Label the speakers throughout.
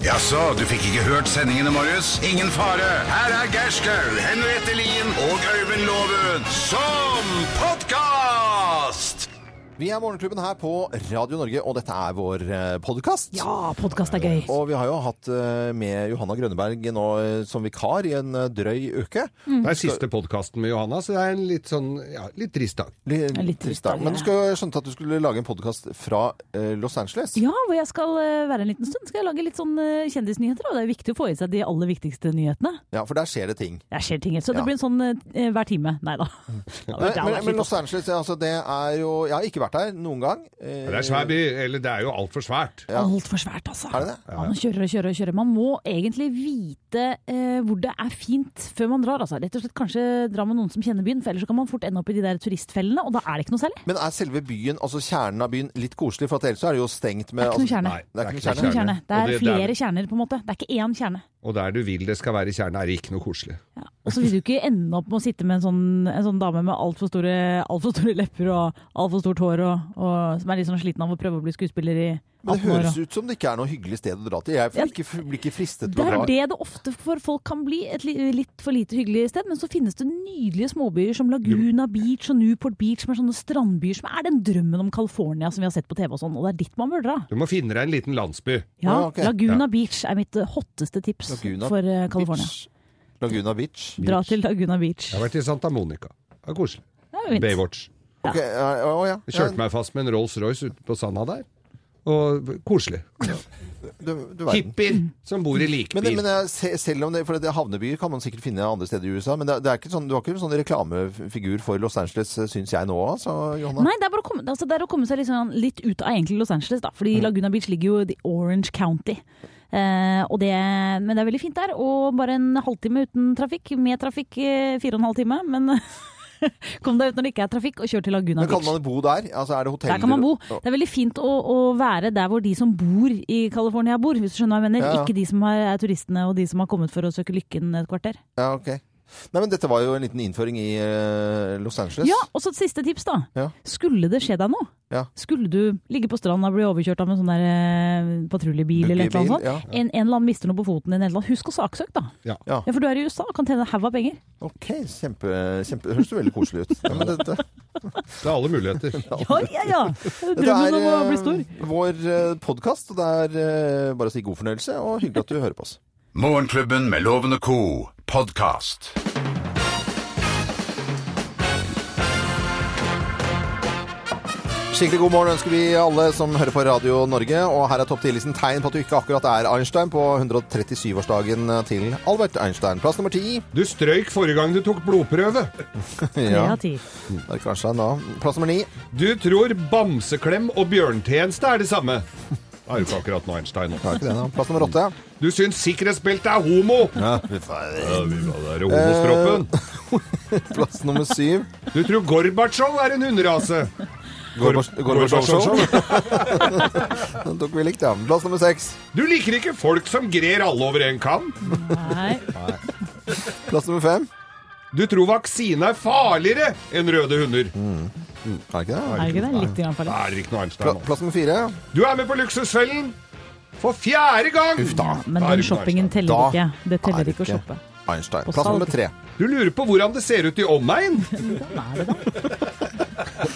Speaker 1: Jaså, du fikk ikke hørt sendingene, Marius? Ingen fare. Her er Gerskaug, Henriette Lien og Øyvind Loven som podkast!
Speaker 2: Vi er Morgenklubben her på Radio Norge, og dette er vår podkast.
Speaker 3: Ja, podkast er gøy.
Speaker 2: Og vi har jo hatt eh, med Johanna Grønneberg nå eh, som vikar i en eh, drøy uke.
Speaker 3: Mm.
Speaker 4: Det er siste podkasten med Johanna, så det er en litt sånn ja, litt trist dag.
Speaker 2: Litt,
Speaker 3: litt trist dag,
Speaker 2: Men
Speaker 3: ja.
Speaker 2: du skal, jeg skjønte at du skulle lage en podkast fra eh, Los Angeles.
Speaker 3: Ja, hvor jeg skal eh, være en liten stund. Skal jeg lage litt sånn eh, kjendisnyheter. Og det er viktig å få i seg de aller viktigste nyhetene.
Speaker 2: Ja, for der skjer det ting.
Speaker 3: Det skjer ting. Så
Speaker 2: Ja.
Speaker 3: det blir en sånn eh, hver time. Nei da.
Speaker 2: Men, men, men
Speaker 3: sånn.
Speaker 2: Los Angeles, altså, det er jo Jeg har ikke vært der noen gang. Eh,
Speaker 4: Det er svær by, eller det er jo altfor svært.
Speaker 3: Altfor svært, altså.
Speaker 2: Er det det?
Speaker 3: Ja, man kjører og kjører og kjører. Man må egentlig vite eh, hvor det er fint før man drar. Altså. Rett og slett kanskje dra med noen som kjenner byen, for ellers så kan man fort ende opp i de der turistfellene, og da er det ikke noe særlig.
Speaker 2: Men er selve byen, altså kjernen av byen, litt koselig? For at ellers så er det jo stengt med altså,
Speaker 3: Det er ikke noe kjerne.
Speaker 4: Nei, det er
Speaker 3: Det
Speaker 4: ikke
Speaker 3: er,
Speaker 4: noe
Speaker 3: ikke noe kjerne.
Speaker 4: kjerne.
Speaker 3: Det
Speaker 4: Og
Speaker 3: er
Speaker 4: det- det er-
Speaker 3: flere kjerner, på en måte. Det er ikke én kjerne.
Speaker 4: Og der du vil det skal være kjerne, er det ikke noe koselig.
Speaker 3: Ja. Og så vil du ikke ende opp med å sitte med en sånn, en sånn dame med altfor store, alt for store lepper og altfor stort hår, og, og, som er litt sånn sliten av å prøve å bli skuespiller i
Speaker 2: Men det
Speaker 3: 18 år.
Speaker 2: høres
Speaker 3: og-
Speaker 2: ut som det ikke er noe hyggelig sted å dra til. Jeg
Speaker 3: Ja.
Speaker 2: får ikke, blir ikke fristet
Speaker 3: Det
Speaker 2: til å
Speaker 3: er
Speaker 2: dra.
Speaker 3: det det ofte for folk kan bli, et li- litt for lite hyggelig sted. Men så finnes det nydelige småbyer som Laguna Beach og Newport Beach, som er sånne strandbyer som er den drømmen om California som vi har sett på TV og sånn, og det er dit man bør dra.
Speaker 4: Du må finne deg en liten landsby.
Speaker 3: Ja,
Speaker 2: Ja, Ah, ok.
Speaker 3: Laguna Beach er mitt eh, hotteste tips
Speaker 2: Laguna
Speaker 3: for eh, California.
Speaker 2: Beach. Laguna Beach.
Speaker 3: Dra til Laguna Beach.
Speaker 4: Jeg har vært i Santa Monica. Det er koselig.
Speaker 3: Det er jo fint.
Speaker 4: Baywatch.
Speaker 2: Ok, ja, Å ja.
Speaker 4: Jeg kjørte meg fast med en Rolls-Royce ute på sanda der. Og koselig.
Speaker 2: Du, du verden.
Speaker 4: Hippier som bor i
Speaker 2: Men, det- men
Speaker 4: likbil.
Speaker 2: jeg, se- selv om det, for det er havnebyer kan man sikkert finne andre steder i USA, men det, er- det er ikke sånn, du har ikke en sånn reklamefigur for Los Angeles, syns jeg nå, altså, Johanna?
Speaker 3: Nei, det er bare å komme, altså det er å komme seg litt, sånn, litt ut av egentlig Los Angeles, da.
Speaker 2: Mm.
Speaker 3: Fordi Laguna Beach ligger jo i Orange County. Eh, og det, men det er veldig fint der. Og bare en halvtime uten trafikk. Med trafikk eh, fire og en halv time, men kom deg ut når det ikke er trafikk, og kjør til Laguna
Speaker 2: Men kan
Speaker 3: Beach.
Speaker 2: man bo der? Altså, er det hoteller?
Speaker 3: Der kan man bo.
Speaker 2: og-
Speaker 3: Det er veldig fint å, å være der hvor de som bor i California bor, hvis du skjønner hva jeg mener.
Speaker 2: Ja, ja.
Speaker 3: Ikke de som er, er turistene og de som har kommet for å søke lykken et kvarter.
Speaker 2: Ja, ok. Nei, men dette var jo en liten innføring i eh, Los Angeles.
Speaker 3: Ja, og så et siste tips, da.
Speaker 2: Ja.
Speaker 3: Skulle det skje deg noe?
Speaker 2: Ja.
Speaker 3: Skulle du ligge på stranda og bli overkjørt av en sånn der eh, patruljebil eller et eller annet sånt?
Speaker 2: Buggebil,
Speaker 3: En, en eller annen mister noe på foten din, eller et eller annet. Husk å saksøke, da.
Speaker 4: Ja.
Speaker 2: Ja.
Speaker 3: for du er i USA og kan tjene en haug av penger.
Speaker 2: Ok, kjempe, kjempe Høres jo veldig koselig ut. Ja, men dette,
Speaker 4: Det er alle muligheter.
Speaker 3: Ja, ja, ja!
Speaker 2: dette
Speaker 3: Drømmen om å
Speaker 2: eh,
Speaker 3: bli stor.
Speaker 2: vår podkast, og det er eh, bare å si god fornøyelse, og hyggelig at du hører på oss.
Speaker 1: Morgenklubben med Loven og co. podkast.
Speaker 2: Skikkelig god morgen ønsker vi alle som hører på Radio Norge. Og her er topp 10-listen tegn på at du ikke akkurat er Einstein på 137-årsdagen til Albert Einstein. Plass nummer ti.
Speaker 4: Du strøyk forrige gang du tok blodprøve.
Speaker 3: Tre
Speaker 2: Ja,
Speaker 3: av ti.
Speaker 2: det er kanskje han da. Plass nummer ni.
Speaker 4: Du tror bamseklem og bjørntjeneste er det samme. Det er jo ikke akkurat nå, Einstein.
Speaker 2: Det er ikke det, da. Plass nummer åtte.
Speaker 4: Du syns sikkerhetsbeltet er homo.
Speaker 2: Ja, fy faen.
Speaker 4: Ja, vi var der, homostroppen.
Speaker 2: Plass nummer syv.
Speaker 4: Du tror Gorbatsjov er en hunderase?
Speaker 2: Gorbatsjov. Gorbatsjov. Den tok vi likt, ja. Plass nummer seks.
Speaker 4: Du liker ikke folk som grer alle over en kam?
Speaker 3: Nei.
Speaker 2: Plass nummer fem.
Speaker 4: Du tror vaksine er farligere enn røde hunder?
Speaker 2: Er det ikke det?
Speaker 3: Er det ikke det? Litt i hvert fall.
Speaker 4: Da er det ikke noe
Speaker 2: Pla-
Speaker 4: Einstein nå.
Speaker 2: Plass nummer fire.
Speaker 4: Du er med på Luksusfellen for fjerde gang!
Speaker 2: Uff da.
Speaker 3: Men
Speaker 4: Da er
Speaker 3: den
Speaker 4: det ikke
Speaker 3: shoppingen
Speaker 4: Einstein.
Speaker 3: teller
Speaker 2: Da
Speaker 3: ikke. Det
Speaker 2: er
Speaker 3: teller
Speaker 2: det
Speaker 3: ikke å
Speaker 2: ikke.
Speaker 3: shoppe.
Speaker 2: Einstein.
Speaker 3: Og
Speaker 2: Plass
Speaker 3: salg.
Speaker 2: nummer tre.
Speaker 4: Du lurer på hvordan det ser ut i omegn?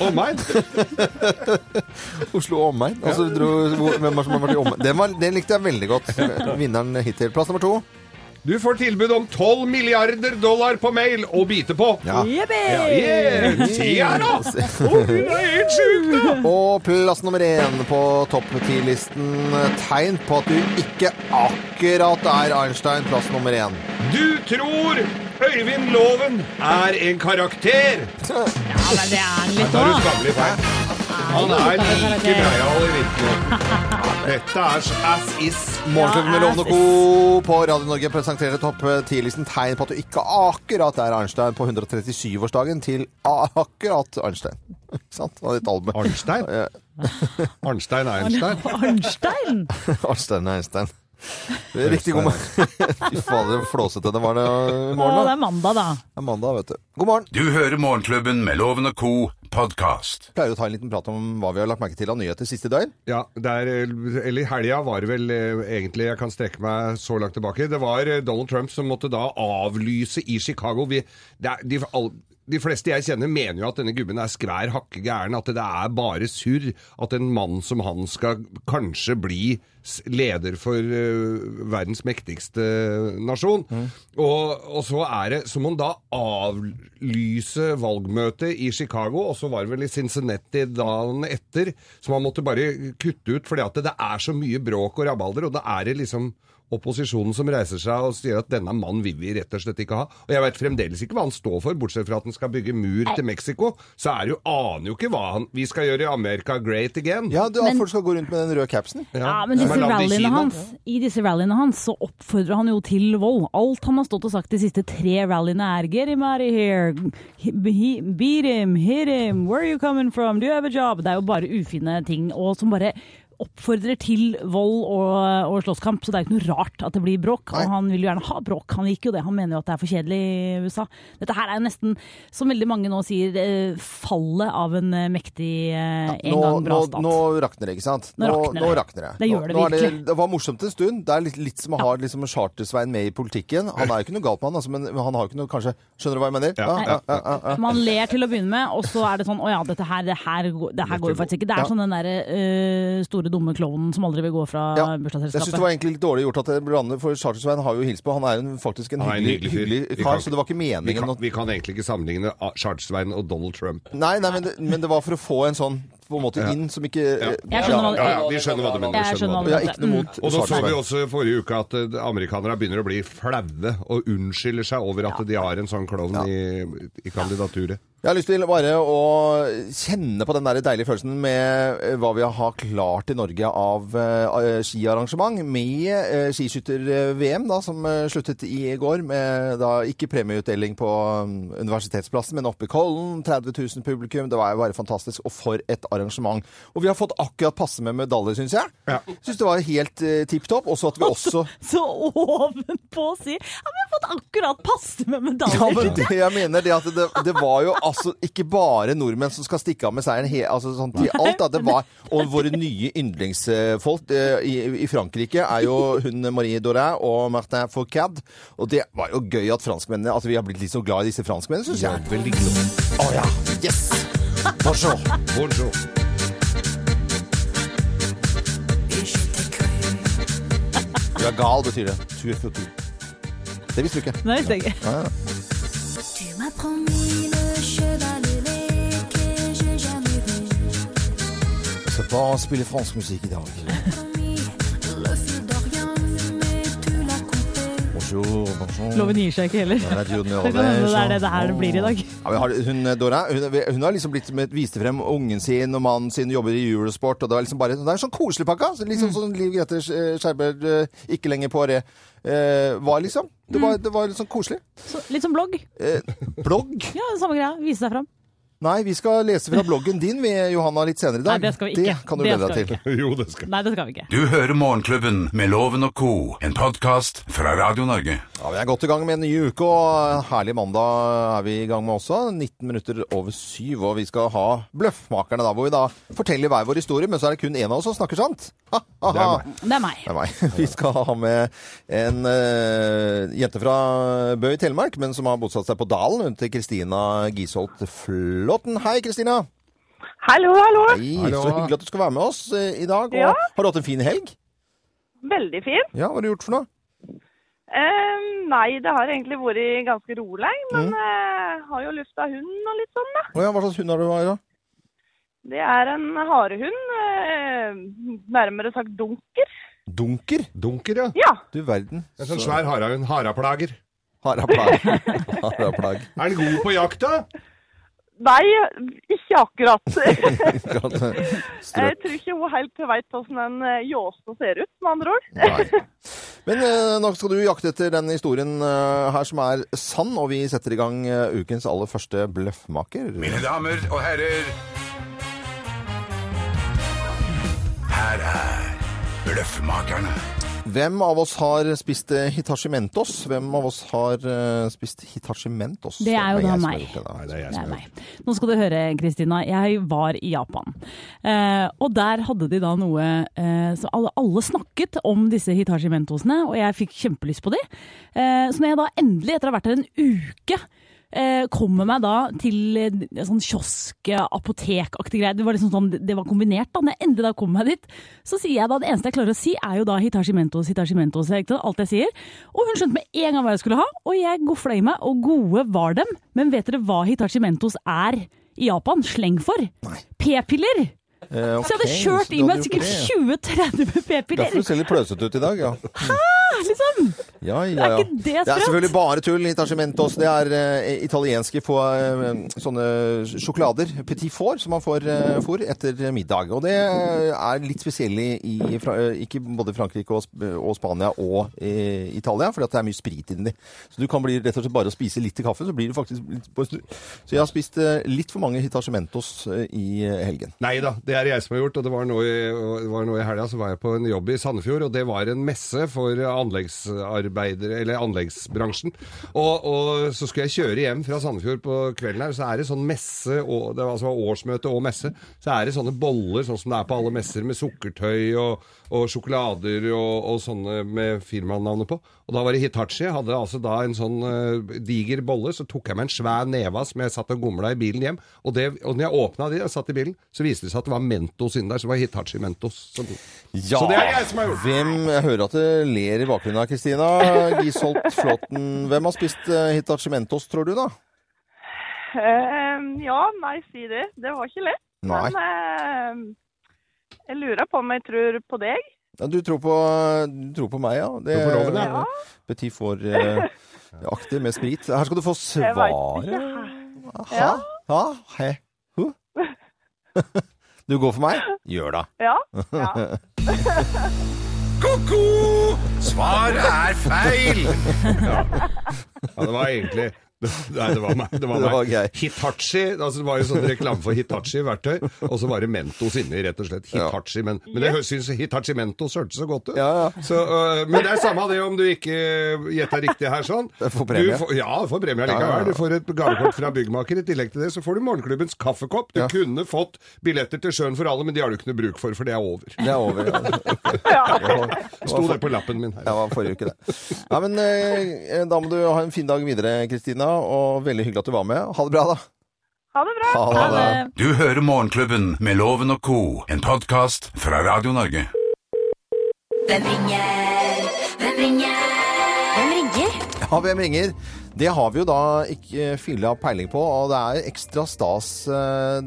Speaker 4: Omegn?
Speaker 2: Oslo og omegn. Og så Altså, dro, hvor- hvem er det som har vært i omegn? Den, var, den likte jeg veldig godt. Vinneren hittil. Plass nummer to.
Speaker 4: Du får tilbud om 12 milliarder dollar på mail å bite på.
Speaker 2: Ja.
Speaker 3: Jippi!
Speaker 4: Yeah. Se her, da! Å, det er helt sjukt, da!
Speaker 2: Og plass nummer én på topp ti-listen. Tegn på at du ikke akkurat er Einstein. Plass nummer én.
Speaker 4: Du tror Øyvind Loven er en karakter.
Speaker 3: Ja, men det er den litt
Speaker 4: Da er du
Speaker 3: òg.
Speaker 4: skammelig feil. Han er like breial i virkeligheten. Dette er as is.
Speaker 2: Morgenklubben med
Speaker 3: Ja,
Speaker 2: Lovende Co. på Radio Norge presenterer topp ti-listen. Tegn på at du ikke akkurat er Einstein på 137-årsdagen til a- akkurat Einstein. Ikke sant? Han het Albert.
Speaker 4: Arnstein? Arnstein Einstein?
Speaker 3: Arnstein!
Speaker 2: Arnstein Einstein. Riktig god morgen. Fy fader, så flåsete det var det i
Speaker 3: Å,
Speaker 2: morgen.
Speaker 3: det
Speaker 2: Da.
Speaker 3: er mandag, da.
Speaker 2: Det er mandag, vet du. God morgen.
Speaker 1: Du hører Morgenklubben med Loven og Co. podkast.
Speaker 2: Vi pleier å ta en liten prat om hva vi har lagt merke til av nyheter siste døgn.
Speaker 4: Ja, der, eller i helga var det vel eh, egentlig, jeg kan strekke meg så langt tilbake, det var eh, Donald Trump som måtte da avlyse i Chicago. Vi, det er, de, all, de fleste jeg kjenner mener jo at denne gubben er skvær hakke gæren, at det er bare surr at en mann som han skal kanskje bli s- leder for eh, verdens mektigste eh, nasjon. Og, og så er det som om da avlyse valgmøtet i Chicago, og så var det vel i Cincinnati dagen etter, som man måtte bare kutte ut, fordi at det er så mye bråk og rabalder, og da er det liksom opposisjonen som reiser seg og sier at denne mannen vil vi rett og slett ikke ha. Og jeg vet fremdeles ikke hva han står for, bortsett fra at han skal bygge mur til Mexico, så er det jo, aner jo ikke hva han, vi skal gjøre i Amerika great again.
Speaker 2: Ja, det, at folk skal gå rundt med den røde capsen.
Speaker 3: Ja, men disse
Speaker 4: Som er lagd i
Speaker 3: rallyene
Speaker 4: Kina.
Speaker 3: hans, I disse rallyene hans så oppfordrer han jo til vold. Alt han har stått og sagt de siste tre rallyene er Get him out of here, He- he- beat him, hit him, where are you coming from, do you have a job? Det er jo bare ufine ting og som bare oppfordrer til vold og, og slåsskamp. Så det er jo ikke noe rart at det blir bråk. Og han vil jo gjerne ha bråk, han liker jo det. Han mener jo at det er for kjedelig i USA. Dette her er jo nesten, som veldig mange nå sier, eh, fallet av en eh, mektig eh, en
Speaker 2: Nå,
Speaker 3: gang
Speaker 2: nå,
Speaker 3: bra stat.
Speaker 2: nå rakner det, ikke sant?
Speaker 3: Nå rakner
Speaker 2: nå
Speaker 3: det.
Speaker 2: rakner det.
Speaker 3: Det gjør
Speaker 2: Nå-
Speaker 3: det
Speaker 2: nå er
Speaker 3: virkelig.
Speaker 2: Det var morsomt en stund. Det er litt, litt som å ha liksom, Charter-Svein med i politikken. Han er jo ikke noe galt med han, altså, men han har jo ikke noe kanskje Skjønner du hva jeg mener?
Speaker 4: Ja,
Speaker 2: ja, ja, ja, ja.
Speaker 3: Man ler til å begynne med, og så er det sånn Å ja, dette her, det her, går- det her går jo faktisk ikke. Det er
Speaker 2: Ja.
Speaker 3: sånn den derre øh, store, dumme klovnen som aldri vil gå fra
Speaker 2: Ja. Jeg syns det
Speaker 3: bursdagsselskapet.
Speaker 2: var egentlig litt dårlig gjort at det ble blandet, for Charter-Svein har jo hilst på. Han er jo faktisk en
Speaker 4: Han er en
Speaker 2: hyggelig,
Speaker 4: hyggelig fyr.
Speaker 2: hyggelig
Speaker 4: Vi
Speaker 2: kar,
Speaker 4: kan-
Speaker 2: så det var ikke
Speaker 4: Vi
Speaker 2: meningen
Speaker 4: kan,
Speaker 2: å
Speaker 4: vi kan egentlig ikke sammenligne ah, Charles-Svein og Donald Trump.
Speaker 2: Nei, nei men, det, men det var for å få en sånn på en måte inn som ikke
Speaker 3: Jeg skjønner hva du-
Speaker 4: Ja, ja, vi skjønner hva du mener.
Speaker 3: Jeg
Speaker 4: vi
Speaker 3: skjønner hva
Speaker 4: skjønner hva du
Speaker 3: du
Speaker 2: Jeg
Speaker 3: mener.
Speaker 2: har ikke noe mot
Speaker 4: Og så så vi
Speaker 2: Charter-Svein.
Speaker 4: også forrige uke at eh, amerikanere begynner å bli flaue og unnskylder seg over at de har en sånn klovn i, i kandidaturet.
Speaker 2: Jeg har lyst til bare å kjenne på den der deilige følelsen med eh, hva vi har klart i Norge av eh, skiarrangement, med eh, skiskytter-VM da, som eh, sluttet i går, med da ikke premieutdeling på mm, universitetsplassen, men oppe i Kollen, 30 000 publikum, det var jo bare fantastisk, og for et arrangement. Og vi har fått akkurat passe med medaljer, synes jeg.
Speaker 4: Ja.
Speaker 2: Synes det var helt eh, tipptopp, og så at vi også...
Speaker 3: Så ovenpå sier Ja, men jeg har fått akkurat passe
Speaker 2: Ja,
Speaker 3: med medaljer.
Speaker 2: men det jeg mener det at det, det var jo altså ikke bare nordmenn som skal stikke av med seieren he, altså, sånn til alt. Da. Det var, og våre nye yndlingsfolk eh, i, i Frankrike er jo hun Marie Doret og Martin Foucad. Og det var jo gøy at franskmennene Altså vi har blitt litt så glad i disse franskmennene, syns jeg. Å ja. Yes! Bonjour.
Speaker 4: Bonjour.
Speaker 2: Du er gal, betyr det. Tu es fou, tu. Det visste du ikke.
Speaker 3: Nei, visste jeg ikke.
Speaker 5: Tu m'as promis le cheval ailé que j'ai jamais vu.
Speaker 2: Jeg skal bare spille fransk musikk i dag.
Speaker 5: Promis le fil d'Orient, mais tu l'as coupé.
Speaker 2: Bonjour, bonjour.
Speaker 3: Loven gir seg ikke heller.
Speaker 2: Det kan
Speaker 3: Det kan hende det er det det her blir i dag.
Speaker 2: Ja, men har, hun, eh, Dora hun, hun har liksom blitt med, viste frem ungen sin og mannen sin, jobber i Eurosport. og Det er liksom bare, det er en sånn koselig pakka. så Liksom
Speaker 3: Mm.
Speaker 2: sånn Liv Grete Sk- Skjerberg eh, ikke lenger på det eh, var, liksom. Det
Speaker 3: Mm.
Speaker 2: var, det var litt sånn koselig.
Speaker 3: Så, litt som blogg.
Speaker 2: Blogg?
Speaker 3: Ja, det er samme greia. Vise seg fram.
Speaker 2: Nei, vi skal lese fra bloggen din, vi, Johanna, litt senere i dag.
Speaker 3: Nei, det skal vi ikke.
Speaker 2: Det kan du
Speaker 3: Det
Speaker 2: glede
Speaker 3: skal vi
Speaker 2: deg til.
Speaker 4: Jo, det skal
Speaker 3: Nei, det skal vi ikke.
Speaker 1: Du hører Morgenklubben med Loven og Co., en podkast fra Radio Norge.
Speaker 2: Ja, Vi er godt i gang med en ny uke, og herlig mandag er vi i gang med også. 19 minutter over syv, og vi skal ha Bløffmakerne, da, hvor vi da forteller hver vår historie, men så er det kun én av oss som snakker sant. Ha, ha, ha.
Speaker 4: er meg.
Speaker 3: Det er meg.
Speaker 2: Det er meg. Vi skal ha med en eh, jente fra Bø i Telemark, men som har bosatt seg på Dalen. Hun heter Kristina Gisholt Flåtten. Hei, Kristina.
Speaker 6: Hallo, hallo.
Speaker 2: Hei, Så hyggelig at du skal være med oss eh, i dag. Og
Speaker 6: Ja.
Speaker 2: Har du hatt en fin helg?
Speaker 6: Veldig fin.
Speaker 2: Ja, hva har du gjort for noe?
Speaker 6: Eh, nei, det har egentlig vært ganske rolig, men eh, har jo lufta hunden og litt sånn, da.
Speaker 2: Å ja, hva slags hund har du? Aira?
Speaker 6: Det er en harehund. Eh, nærmere sagt dunker.
Speaker 2: Dunker?
Speaker 4: Dunker, ja.
Speaker 6: Ja.
Speaker 2: Du verden.
Speaker 4: En sånn svær harahund. Haraplager.
Speaker 2: Haraplag. Haraplag.
Speaker 4: Er den god på jakt, da?
Speaker 6: Nei, ikke akkurat. jeg
Speaker 2: Strøk.
Speaker 6: tror ikke hun helt veit åssen en eh, ljåse ser ut, med andre ord.
Speaker 2: Nei. Men eh, nå skal du jakte etter den historien eh, her som er sann, og vi setter i gang eh, ukens aller første bløffmaker.
Speaker 1: Mine damer og herrer, her er Bløffmakerne.
Speaker 2: Hvem av oss har spist eh, Hitachi Mentos? Hvem av oss har eh, spist Hitachi Mentos?
Speaker 3: Det er jo
Speaker 2: jeg som
Speaker 3: da
Speaker 2: har
Speaker 3: meg.
Speaker 2: gjort det, da.
Speaker 4: Nei, det er jeg
Speaker 3: Det er
Speaker 4: som er
Speaker 3: meg. Nå skal du høre, Kristina. Jeg var i Japan. Eh, og der hadde de da noe eh, Så alle, alle snakket om disse Hitachi Mentosene, og jeg fikk kjempelyst på de. Eh, så når jeg da endelig, etter å ha vært her en uke, eh, kommer meg da til eh, sånn kiosk, apotekaktig greie. Det var liksom sånn, det var kombinert da. Når jeg endelig da kom meg dit, så sier jeg da det eneste jeg klarer å si er jo da Hitachi Mentos, Hitachi Mentos, ikke sant? alt jeg sier. Og hun skjønte med en gang hva jeg skulle ha, og jeg gofla i meg, og gode var dem. Men vet dere hva Hitachi Mentos er i Japan? Sleng for? P-piller!
Speaker 2: Eh,
Speaker 3: Så jeg hadde
Speaker 2: ok,
Speaker 3: kjørt
Speaker 2: så
Speaker 3: i
Speaker 2: da
Speaker 3: meg
Speaker 2: hadde du
Speaker 3: sikkert
Speaker 2: gjort det.
Speaker 3: 20-30
Speaker 2: Derfor
Speaker 3: p-piller!
Speaker 2: du ser litt pløsete ut i dag, ja.
Speaker 3: Liksom.
Speaker 2: ja, ja, ja.
Speaker 3: Det er ikke det
Speaker 2: Det er
Speaker 3: sprøtt.
Speaker 2: selvfølgelig bare tull. Hitachi Mentos det er eh, italienske få, eh, sånne sjokolader, petit four, som man får eh, får etter middag. Og det eh, er litt spesielle i Fra- eh, ikke både Frankrike og, Sp- og Spania og eh, Italia, fordi at det er mye sprit inni de. Så du kan bli rett og slett bare å spise litt til kaffen, så blir du faktisk litt på en snu. Så jeg har spist eh, litt for mange Hitachi Mentos eh, i helgen.
Speaker 4: Nei da, det er jeg som har gjort. Og det var nå i, og det var nå i helga så var jeg på en jobb i Sandefjord, og det var en messe for anleggsarbeidere, eller anleggsbransjen. Og, og så skulle jeg kjøre hjem fra Sandefjord på kvelden her, så er det sånn messe, og, det var altså årsmøte og messe, så er det sånne boller, sånn som det er på alle messer, med sukkertøy og, og sjokolader og, og sånne med firmanavnet på. Og da var det Hitachi. Jeg hadde altså da en sånn eh, diger bolle, så tok jeg meg en svær neve av som jeg satt og gomla i bilen hjem. Og, det, og når jeg åpna de og satt i bilen, så viste det seg at det var Mentos inni der. Så det var Hitachi Mentos. Så,
Speaker 2: Ja.
Speaker 4: så det er jeg som har gjort
Speaker 2: Hvem, jeg hører at det ler i bakgrunnen her, Kristina. Gisholt Flåten. Hvem har spist eh, Hitachi Mentos, tror du da?
Speaker 6: Ehm, ja, nei, si det. Det var ikke lett.
Speaker 2: Nei.
Speaker 6: Men ehm, jeg lurer på om jeg tror på deg.
Speaker 2: Ja, du, tror på, du tror på meg, ja. Det
Speaker 4: Tror på loven, ja.
Speaker 2: eh, Petit for-aktig med sprit. Her skal du få
Speaker 6: Jeg vet
Speaker 2: svaret.
Speaker 6: ikke. Ja.
Speaker 2: Ha? He? Hu? Du går for meg? Gjør det.
Speaker 6: Ja. ja.
Speaker 1: Ko-ko! Svaret er feil!
Speaker 4: Ja, det var egentlig Nei, det var meg. Det var
Speaker 2: Det
Speaker 4: meg.
Speaker 2: var gøy.
Speaker 4: Hitachi. Altså, det var jo sånn reklame for Hitachi-verktøy, og så var det Mentos inni, rett og slett. Hitachi, men, men jeg syns Hitachi Mentos hørtes så godt ut.
Speaker 2: Ja, ja.
Speaker 4: Så, øh, men det er samme det om du ikke gjetter riktig her, sånn.
Speaker 2: Jeg får premie.
Speaker 4: Du får, ja, du får
Speaker 2: Ja, ja,
Speaker 4: premie
Speaker 2: ja.
Speaker 4: likevel. Du får et gavekort fra byggmaker. I tillegg til det så får du morgenklubbens kaffekopp. Du kunne fått billetter til Sjøen for alle, men de har du ikke noe bruk for, for det er over.
Speaker 2: Det er over. Ja.
Speaker 4: Sto det på lappen min
Speaker 2: Ja,
Speaker 4: her.
Speaker 2: det var forrige uke, det. Ja, men eh, da må du ha en fin dag videre, Kristina. Og veldig hyggelig at du var med. Ha det bra, da.
Speaker 6: Ha det bra.
Speaker 2: Ha det.
Speaker 1: Du hører Morgenklubben med Loven og co., en podkast fra Radio Norge.
Speaker 5: Hvem ringer? Hvem ringer? Hvem ringer?
Speaker 2: Ja, hvem ringer? Det har vi jo da ikke eh, fylla peiling på, og det er ekstra stas eh,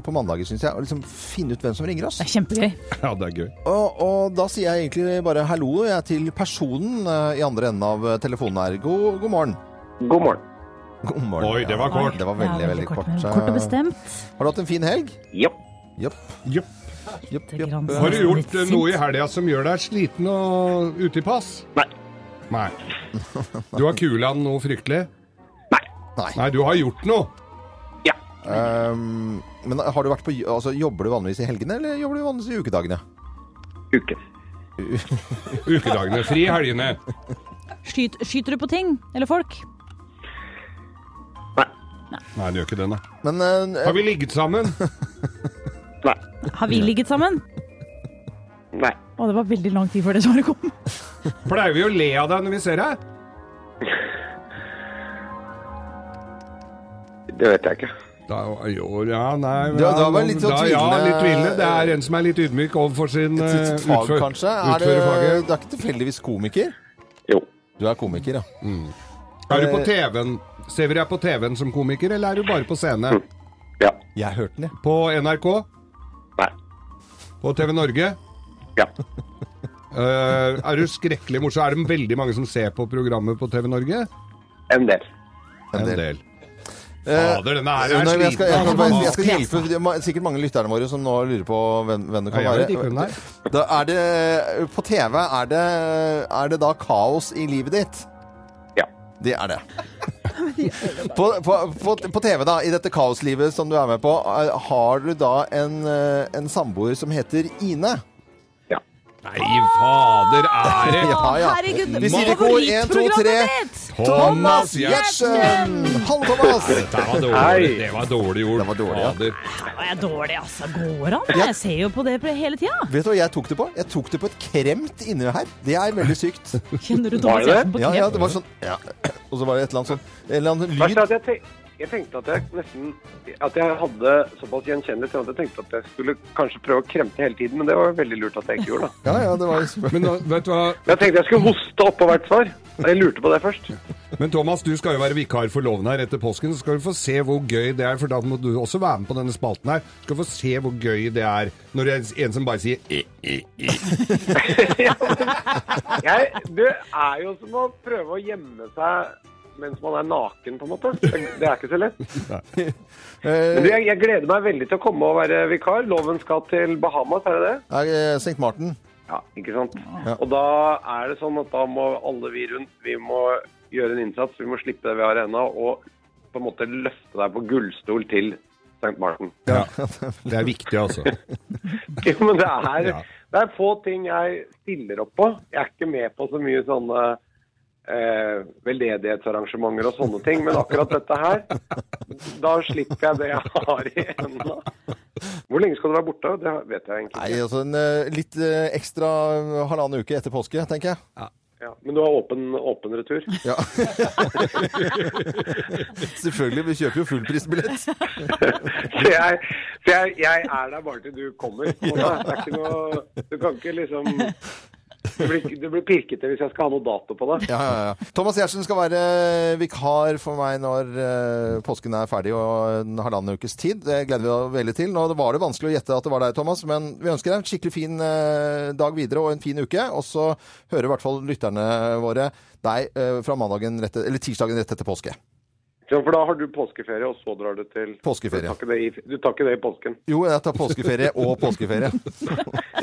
Speaker 2: på mandager, syns jeg, å liksom finne ut hvem som ringer oss.
Speaker 3: Det er kjempegøy.
Speaker 4: Ja, det er gøy.
Speaker 2: Og, og da sier jeg egentlig bare hallo jeg til personen eh, i andre enden av eh, telefonen her. God, god morgen.
Speaker 7: God morgen.
Speaker 2: God morgen.
Speaker 4: Oi, det
Speaker 2: Ja,
Speaker 4: var kort.
Speaker 2: Det var veldig,
Speaker 3: Ja,
Speaker 2: veldig kort. Eh,
Speaker 3: men Kort og bestemt.
Speaker 2: Har du hatt en fin helg?
Speaker 7: Ja.
Speaker 2: Jopp.
Speaker 4: Jupp.
Speaker 2: Jopp,
Speaker 3: Det er
Speaker 2: jopp.
Speaker 3: grann.
Speaker 4: Har du gjort
Speaker 3: Litt
Speaker 4: eh, noe i helga som gjør deg sliten og ute i pass?
Speaker 7: Nei.
Speaker 4: Nei. Du har kula noe fryktelig?
Speaker 7: Nei.
Speaker 2: Nei.
Speaker 4: Nei, du har gjort noe.
Speaker 7: Ja.
Speaker 2: Um, men har du vært på, j- altså, jobber du vanligvis i helgene, eller jobber du vanligvis i ukedagene?
Speaker 7: Uke.
Speaker 4: Ukedagene. Fri i helgene.
Speaker 3: Skyt, skyter du på ting? Eller folk?
Speaker 7: Nei.
Speaker 4: Nei, du gjør ikke det, nei.
Speaker 2: Men eh,
Speaker 4: Har vi ligget sammen?
Speaker 7: Nei.
Speaker 3: Har vi ligget sammen?
Speaker 7: Nei.
Speaker 3: Å, det var veldig lang tid før det svaret kom.
Speaker 4: Pleier vi å le av deg når vi ser deg?
Speaker 7: Det vet jeg ikke.
Speaker 4: Da, jo, ja, nei
Speaker 2: Ja, da var litt sånn
Speaker 4: da, Ja,
Speaker 2: tvilende-
Speaker 4: litt tvilende. Det er en som er litt ydmyk overfor sin
Speaker 2: sitt
Speaker 4: eh,
Speaker 2: sitt fag,
Speaker 4: utfør-
Speaker 2: kanskje? Er det,
Speaker 4: utførerfaget.
Speaker 2: du er ikke tilfeldigvis komiker?
Speaker 7: Jo.
Speaker 2: Du er komiker, ja.
Speaker 4: Er du på TV-en? Ser vi deg på TV-en som komiker, eller er du bare på scene?
Speaker 7: Ja.
Speaker 2: Jeg hørte den, jeg.
Speaker 4: På NRK?
Speaker 7: Nei.
Speaker 4: På TV Norge?
Speaker 7: Ja.
Speaker 4: Eh, er du skrekkelig morsom? Er det veldig mange som ser på programmet på TV Norge?
Speaker 7: En del.
Speaker 2: En del. Eh,
Speaker 4: Fader, denne her er
Speaker 2: Nei, men jeg, skal, jeg,
Speaker 4: sliten.
Speaker 2: skal,
Speaker 4: altså.
Speaker 2: jeg, jeg skal hjelpe Det er sikkert mange lytterne våre som nå lurer på hvem, hvem det kan
Speaker 4: Ja, jeg
Speaker 2: være.
Speaker 4: vet ikke hvem det er.
Speaker 2: Da er det, på TV er det, er det da kaos i livet ditt?
Speaker 7: Ja.
Speaker 2: Det er det. På, på, på, på TV, da, i dette kaoslivet som du er eh, med på, er- har du da en, eh, en samboer som heter Ine?
Speaker 7: Ja.
Speaker 4: Nei, fader ære!
Speaker 2: Ja, ja.
Speaker 3: Herregud,
Speaker 2: Vi sier ikke ord. En, to, tre.
Speaker 3: favorittprogrammet ditt!
Speaker 2: Thomas Gjertsen! Hallo, Thomas.
Speaker 4: Dette var dårlig. Det var dårlig ord.
Speaker 2: Det var dårlig, ja.
Speaker 4: Fader.
Speaker 3: Å, Jeg er dårlig, altså. Går an? Jeg ser jo på det hele tida.
Speaker 2: Vet du hva jeg tok det på? Jeg tok det på et kremt inni her. Det er veldig sykt.
Speaker 3: Kjenner du
Speaker 7: Var
Speaker 3: Thomas
Speaker 7: det det?
Speaker 3: Gjertsen på
Speaker 2: Ja, ja,
Speaker 3: krem?
Speaker 2: det var sånn ja. Og så var det et eller annet sånn En eller annen
Speaker 7: Verst
Speaker 2: lyd.
Speaker 7: er at jeg, tenk, jeg tenkte at jeg nesten At jeg hadde såpass gjenkjennelighet. Jeg hadde tenkt at jeg skulle kanskje prøve å kremte hele tiden, men det var veldig lurt at jeg ikke gjorde det.
Speaker 2: Ja, ja, det var liksom- jo
Speaker 4: Men da, vet du hva?
Speaker 7: Jeg tenkte jeg skulle hoste oppå hvert svar. Jeg lurte på det først.
Speaker 4: Men Thomas, du skal jo være vikar for loven her etter påsken, så skal du få se hvor gøy det er, for da må du også være med på denne spalten her. Du skal få se hvor gøy det er når det er en som bare sier "Eh, i, i, i.
Speaker 7: Ja, men jeg, det er jo som å prøve å gjemme seg mens man er naken, på en måte. Det er ikke så lett. Men du, jeg, jeg gleder meg veldig til å komme og være vikar. Loven skal til Bahamas, er det det?
Speaker 2: Er, eh, St. Martin.
Speaker 7: Ja, ikke sant? Og da er det sånn at da må alle vi rundt, vi må gjøre en innsats, vi må slippe det vi har ennå, og på en måte løfte deg på gullstol til St. Martin.
Speaker 4: Ja. Det er viktig, altså.
Speaker 7: Jo, men det er,
Speaker 4: Ja.
Speaker 7: det er få ting jeg stiller opp på. Jeg er ikke med på så mye sånne eh, veldedighetsarrangementer og sånne ting, men akkurat dette her, da slipper jeg det jeg har i ennå. Hvor lenge skal du være borte? Det vet jeg egentlig
Speaker 2: Nei,
Speaker 7: ikke.
Speaker 2: altså en eh, litt eh, ekstra halvannen uke etter påske, tenker jeg.
Speaker 7: Ja, men du har åpen, åpen retur?
Speaker 2: Ja. Selvfølgelig. Vi kjøper jo fullprisbillett.
Speaker 7: Så jeg, så jeg, jeg er der bare til du kommer. på en måte. Det er ikke noe, du kan ikke liksom du blir, du blir pirket til hvis jeg skal ha noe dato på det.
Speaker 2: Ja, ja, ja. Thomas Gjertsen skal være eh, vikar for meg når eh, påsken er ferdig og en halvannen ukes tid. Det gleder vi oss veldig til. Nå var det vanskelig å gjette at det var deg, Thomas, men vi ønsker deg en skikkelig fin eh, dag videre og en fin uke. Og så hører i hvert fall lytterne våre deg eh, fra mandagen rett, eller tirsdagen rett etter påske.
Speaker 7: Så For da har du påskeferie, og så drar du til
Speaker 2: Påskeferie.
Speaker 7: Du tar ikke det i, du tar ikke det i påsken.
Speaker 2: Jo, jeg tar påskeferie og påskeferie.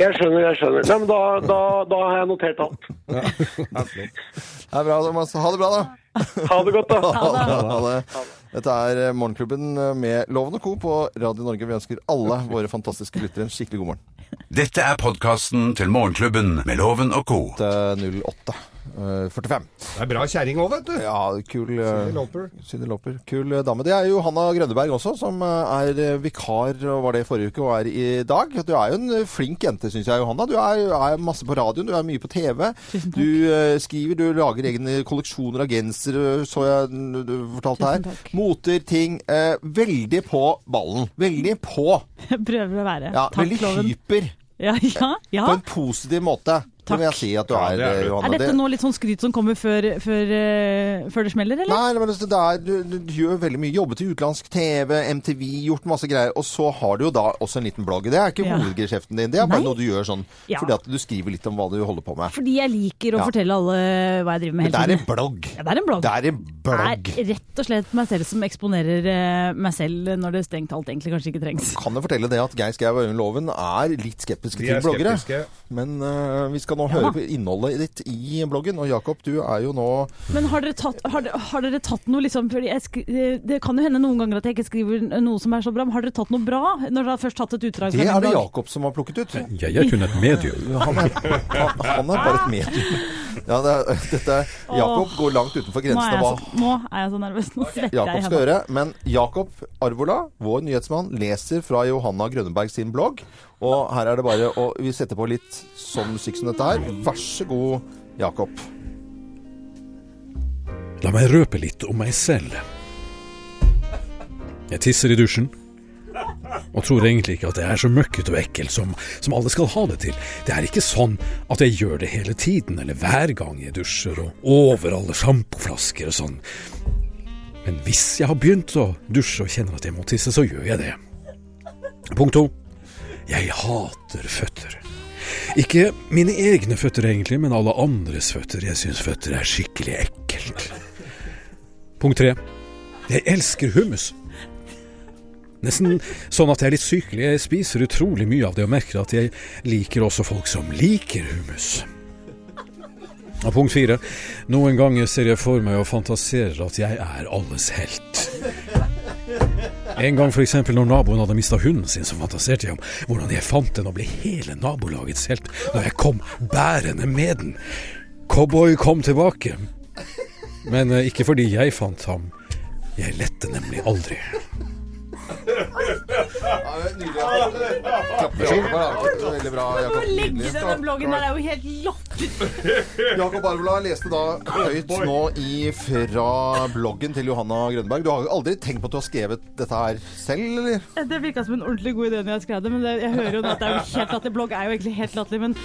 Speaker 7: Jeg skjønner, jeg skjønner. Nei, men da, da, da har jeg notert alt.
Speaker 2: Det er bra, Thomas. Ha det bra, da.
Speaker 7: Ha det godt, da.
Speaker 2: Ha det. Ha det. Dette er Morgenklubben med Loven og Co. på Radio Norge. Vi ønsker alle våre fantastiske lyttere en skikkelig god morgen.
Speaker 1: Dette er podkasten til Morgenklubben med Loven og co.
Speaker 2: Eh, 08 eh, 45.
Speaker 4: Det er bra kjerring òg, vet du.
Speaker 2: Ja, kul eh,
Speaker 4: Loper.
Speaker 2: Cyndi Lauper. Kul eh, dame. Det er Johanna Grønneberg også, som eh, er eh, vikar og var det i forrige uke og er i dag. Du er jo en eh, flink jente, syns jeg, Johanna. Du er, er masse på radioen, du er mye på TV.
Speaker 3: Tusen takk.
Speaker 2: Du eh, skriver, du lager egne kolleksjoner av gensere, så jeg mm, du fortalte
Speaker 3: Tusen
Speaker 2: her.
Speaker 3: takk.
Speaker 2: Moter, ting. eh, Veldig på ballen. Veldig på.
Speaker 3: Jeg prøver å være.
Speaker 2: Ja,
Speaker 3: Takk,
Speaker 2: veldig
Speaker 3: loven.
Speaker 2: hyper.
Speaker 3: Ja, ja, ja.
Speaker 2: På en positiv måte. Det
Speaker 3: Takk.
Speaker 2: vil jeg si at du
Speaker 4: Ja,
Speaker 2: er,
Speaker 4: det er
Speaker 2: eh,
Speaker 4: du.
Speaker 2: Johanna.
Speaker 3: Er dette
Speaker 2: Det-
Speaker 3: nå litt sånn skryt som kommer før, før, eh, før det smeller, eller?
Speaker 2: Nei, men altså, det er, du, du gjør veldig mye. Jobbet i utenlandsk TV, MTV, gjort masse greier. Og så har du jo da også en liten blogg. Det er ikke
Speaker 3: Ja.
Speaker 2: hovedgeskjeften din, det er bare
Speaker 3: Nei.
Speaker 2: noe du gjør sånn
Speaker 3: Ja.
Speaker 2: fordi at du skriver litt om hva du holder på med.
Speaker 3: Fordi jeg liker å
Speaker 2: Ja.
Speaker 3: fortelle alle hva jeg driver med
Speaker 2: Men det
Speaker 3: hele
Speaker 2: er en
Speaker 3: tiden.
Speaker 2: blogg.
Speaker 3: Ja, det er en blogg.
Speaker 2: Det er en blogg.
Speaker 3: Det er rett og slett meg selv som eksponerer eh, meg selv når det strengt talt egentlig kanskje ikke trengs.
Speaker 2: Kan jo fortelle det at Geir Skau og Øyvind Loven er litt skeptiske
Speaker 4: De
Speaker 2: til
Speaker 4: er
Speaker 2: bloggere.
Speaker 4: skeptiske.
Speaker 2: Men øh, vi skal nå
Speaker 3: da.
Speaker 2: høre på innholdet ditt i bloggen. Og Jakob, du er jo nå
Speaker 3: Men har dere tatt, har dere, har dere tatt noe liksom fordi jeg skri, eh, Det kan jo hende noen ganger at jeg ikke skriver noe som er så bra, men har dere tatt noe bra når dere har først tatt et utdrag?
Speaker 2: Det
Speaker 3: fra min
Speaker 2: er det
Speaker 3: blogg?
Speaker 2: Jakob som har plukket ut.
Speaker 8: Jeg er kun et medium.
Speaker 2: Han er, han, han er bare et medium. Ja, det er, dette er, Jakob
Speaker 3: Åh.
Speaker 2: går langt utenfor
Speaker 3: Nå er,
Speaker 2: grensene
Speaker 3: jeg altså-
Speaker 2: hva
Speaker 3: så, nå er jeg så nervøs. Nå svetter jeg i
Speaker 2: Jakob skal
Speaker 3: hendene.
Speaker 2: gjøre. Men Jakob Arvola, vår nyhetsmann, leser fra Johanna Grønneberg sin blogg. Og her er det bare å Vi setter på litt sånn musikk som dette her. Vær så god, Jakob.
Speaker 8: La meg røpe litt om meg selv. Jeg tisser i dusjen. Og tror egentlig ikke at jeg er så møkkete og ekkel som, som alle skal ha det til. Det er ikke sånn at jeg gjør det hele tiden, eller hver gang jeg dusjer, og over alle sjampoflasker og sånn. Men hvis jeg har begynt å dusje og kjenner at jeg må tisse, så gjør jeg det. Punkt to. Jeg hater føtter. Ikke mine egne føtter egentlig, men alle andres føtter. Jeg syns føtter er skikkelig ekkelt. Punkt tre. Jeg elsker hummus. Nesten sånn at jeg er litt sykelig. Jeg spiser utrolig mye av det og merker at jeg liker også folk som liker hummus. Og punkt fire. Noen ganger ser jeg for meg og fantaserer at jeg er alles helt. En gang f.eks. når naboen hadde mista hunden sin, så fantaserte jeg om hvordan jeg fant den og ble hele nabolagets helt når jeg kom bærende med den. Cowboy kom tilbake. Men eh, ikke fordi jeg fant ham. Jeg lette nemlig aldri.
Speaker 2: Veldig bra, Jakob.
Speaker 3: Legge
Speaker 2: Nydelig.
Speaker 3: denne bloggen der er jo helt latterlig.
Speaker 2: Jakob Arvla leste da høyt nå i fra bloggen til Johanna Grønberg. Du har jo aldri tenkt på at du har skrevet dette her selv, eller?
Speaker 3: Det virka som en ordentlig god idé når jeg skrev det, men det, jeg hører jo nå at det er jo helt latterlig. Blogg er jo egentlig helt latterlig, men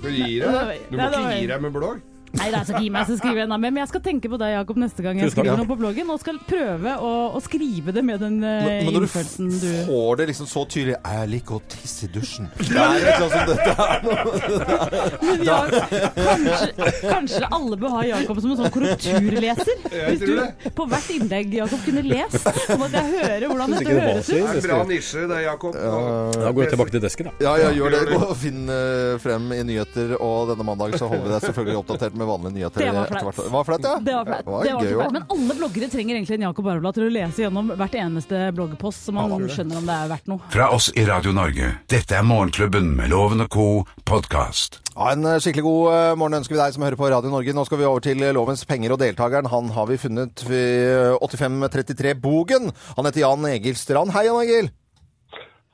Speaker 4: Du gir deg. Du må
Speaker 3: Nei, det var-
Speaker 4: ikke gi deg med blogg.
Speaker 3: Nei, det er så gi meg så skriver jeg en av dem. Men jeg skal tenke på deg, Jakob, neste gang jeg
Speaker 8: Tusen takk.
Speaker 3: skriver noe på bloggen, og skal prøve å, å skrive det med den eh,
Speaker 2: Men men når du
Speaker 3: innfølelsen du
Speaker 2: får det liksom så tydelig 'Jeg liker å tisse i dusjen' Det er liksom som dette er
Speaker 3: Men ja, kanskje, kanskje alle bør ha Jakob som en sånn korrekturleser? Hvis
Speaker 4: tror
Speaker 3: du på hvert innlegg, Jakob, kunne lest, sånn at jeg hører hvordan dette høres ut.
Speaker 4: Det er en bra nisje, det, Jakob.
Speaker 8: Da går jeg tilbake til desken, da.
Speaker 2: Ja, ja, gjør det. Gå og finn eh, frem i nyheter, og denne mandagen så holder vi deg selvfølgelig oppdatert med vanlige nyheter.
Speaker 3: Det var
Speaker 2: etter
Speaker 3: flaut.
Speaker 2: hvert. Det var flaut, ja?
Speaker 3: Det var flaut.
Speaker 2: Det var
Speaker 3: Det var
Speaker 2: gøy
Speaker 3: så flaut.
Speaker 2: også.
Speaker 3: Men alle bloggere trenger egentlig en Jakob Arvla til å lese gjennom hvert eneste bloggpost, så man skjønner om det er verdt noe.
Speaker 1: Fra oss i Radio Norge, dette er Morgenklubben med Loven og co. podkast.
Speaker 2: Ja, en eh, skikkelig god eh, morgen ønsker vi deg som hører på Radio Norge. Nå skal vi over til eh, lovens penger, og deltakeren han har vi funnet ved 8533 Bogen. Han heter Jan Egil Strand. Hei, Jan Egil.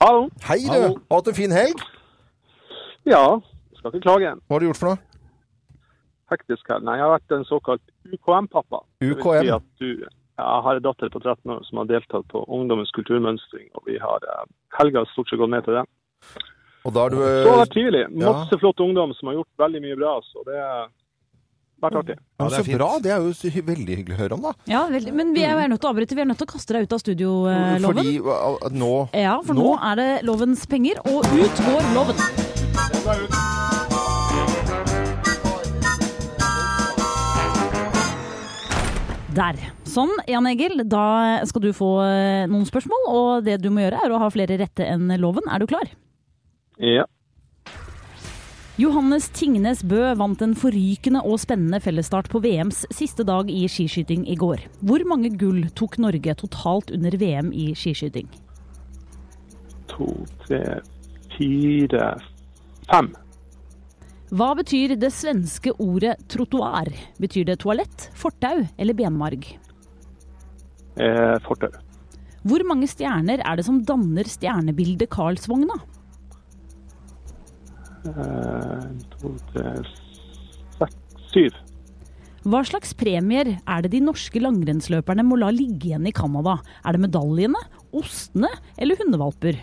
Speaker 7: Hallo.
Speaker 2: Hei, du. Har du hatt en fin helg?
Speaker 7: Ja, skal ikke klage.
Speaker 2: Hva har du gjort for noe?
Speaker 7: Hektisk helg. Nei, jeg har vært en såkalt UKM-pappa. Det vil
Speaker 2: UKM?
Speaker 7: Si at du, jeg har en datter på 13 år som har deltatt på Ungdommens kulturmønstring, og vi har eh, helga stort sett gått med til det.
Speaker 2: Og da har du
Speaker 7: Så det har
Speaker 2: eh,
Speaker 7: vært trivelig.
Speaker 2: ja.
Speaker 7: Masse flott ungdom som har gjort veldig mye bra, så det har vært artig.
Speaker 2: ja, Så bra. Det er jo så hy- veldig hyggelig å høre om, da.
Speaker 3: Ja, veldig. Men vi er jo nødt til å avbryte. Vi er nødt til å kaste deg ut av studioloven.
Speaker 2: Fordi eh, nå
Speaker 3: Ja, for nå? er det lovens penger, og ut går loven. Der. Sånn, Jan Egil, da skal du få eh, noen spørsmål, og det du må gjøre er å ha flere rette enn loven. Er du klar?
Speaker 7: Ja.
Speaker 3: Johannes Tingnes Bø vant en forrykende og spennende fellesstart på VMs siste dag i skiskyting i går. Hvor mange gull tok Norge totalt under VM i skiskyting?
Speaker 7: To, tre, fire, fem.
Speaker 3: Hva betyr det svenske ordet trottoar? Betyr det toalett, fortau eller benmarg?
Speaker 7: Eh, Fortau.
Speaker 3: Hvor mange stjerner er det som danner stjernebildet Karlsvogna?
Speaker 7: Eh, to, tre, seks, syv.
Speaker 3: Hva slags premier er det de norske langrennsløperne må la ligge igjen i Canada? Er det medaljene, ostene eller hundevalper?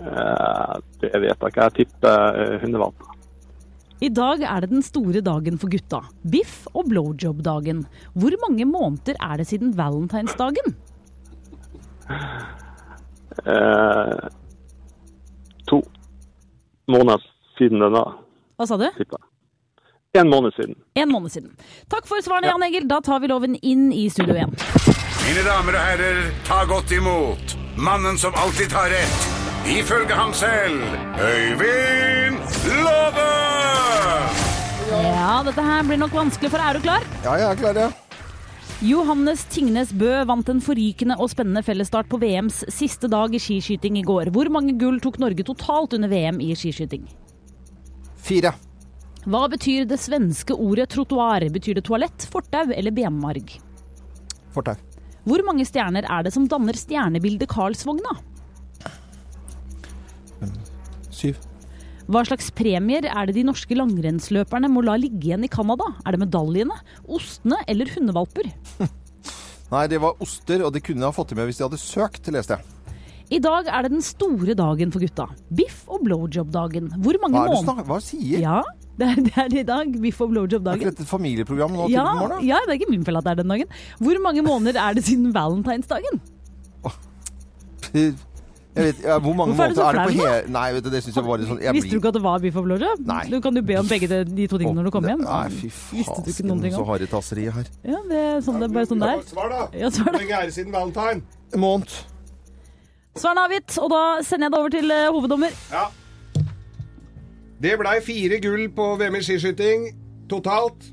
Speaker 7: Eh, det vet jeg ikke. Jeg tipper eh, hundevalp.
Speaker 3: I dag er det den store dagen for gutta. Biff- og blowjob-dagen. Hvor mange måneder er det siden valentinsdagen?
Speaker 7: Eh, to måneder siden den da,
Speaker 3: Hva sa du?
Speaker 7: tipper jeg. En måned siden.
Speaker 3: En måned siden. Takk for svarene, Jan Egil. Da tar vi loven inn i studio igjen.
Speaker 1: Mine damer og herrer, ta godt imot mannen som alltid tar rett, ifølge ham selv, Øyvind Låve!
Speaker 3: Ja, dette her blir nok vanskelig, for er du klar?
Speaker 2: Ja, jeg er klar, ja.
Speaker 3: Johannes Tingnes Bø vant en forrykende og spennende fellesstart på VMs siste dag i skiskyting i går. Hvor mange gull tok Norge totalt under VM i skiskyting?
Speaker 2: Fire.
Speaker 3: Hva betyr det svenske ordet trottoar? Betyr det toalett, fortau eller benmarg?
Speaker 2: Fortau.
Speaker 3: Hvor mange stjerner er det som danner stjernebildet Karlsvogna?
Speaker 2: Syv.
Speaker 3: Hva slags premier er det de norske langrennsløperne må la ligge igjen i Canada? Er det medaljene, ostene eller hundevalper?
Speaker 2: Nei, det var oster, og det kunne jeg ha fått det med hvis de hadde søkt, leste jeg.
Speaker 3: I dag er det den store dagen for gutta. Biff- og blowjob-dagen. Hvor mange
Speaker 2: Hva er det du
Speaker 3: måneder
Speaker 2: snakker Hva sier?
Speaker 3: Ja, det er, det er det i dag. Biff- og
Speaker 2: Er ikke
Speaker 3: blowjob-dagen.
Speaker 2: dette et familieprogram nå til
Speaker 3: Ja,
Speaker 2: morgen? da?
Speaker 3: ja, det er ikke min feil at det er den dagen. Hvor mange måneder er det siden valentinsdagen?
Speaker 2: Jeg vet, ja, hvor mange
Speaker 3: Hvorfor er du
Speaker 2: måter
Speaker 3: så
Speaker 2: er det på
Speaker 3: flau nå?
Speaker 2: hele Nei, vet du, det syns jeg var litt sånn jeg
Speaker 3: Visste du
Speaker 2: blir-
Speaker 3: ikke at det var biff og blowjob?
Speaker 2: Nei.
Speaker 3: Du kan jo be om begge de, de to tingene når du kommer hjem.
Speaker 2: Nei, fy
Speaker 3: Visste du ikke noen
Speaker 2: faen,
Speaker 3: ting
Speaker 2: så
Speaker 3: om?
Speaker 2: harry tasseriet her.
Speaker 3: Ja, det er sånn, det er bare sånn det er.
Speaker 4: Svar, da.
Speaker 3: Ja, svar da.
Speaker 4: Hvor lenge er det siden valentine?
Speaker 2: Måned.
Speaker 3: Svaren er avgitt, og da sender jeg det over til eh, hoveddommer.
Speaker 4: Ja. Det blei fire gull på VM i skiskyting eh, totalt.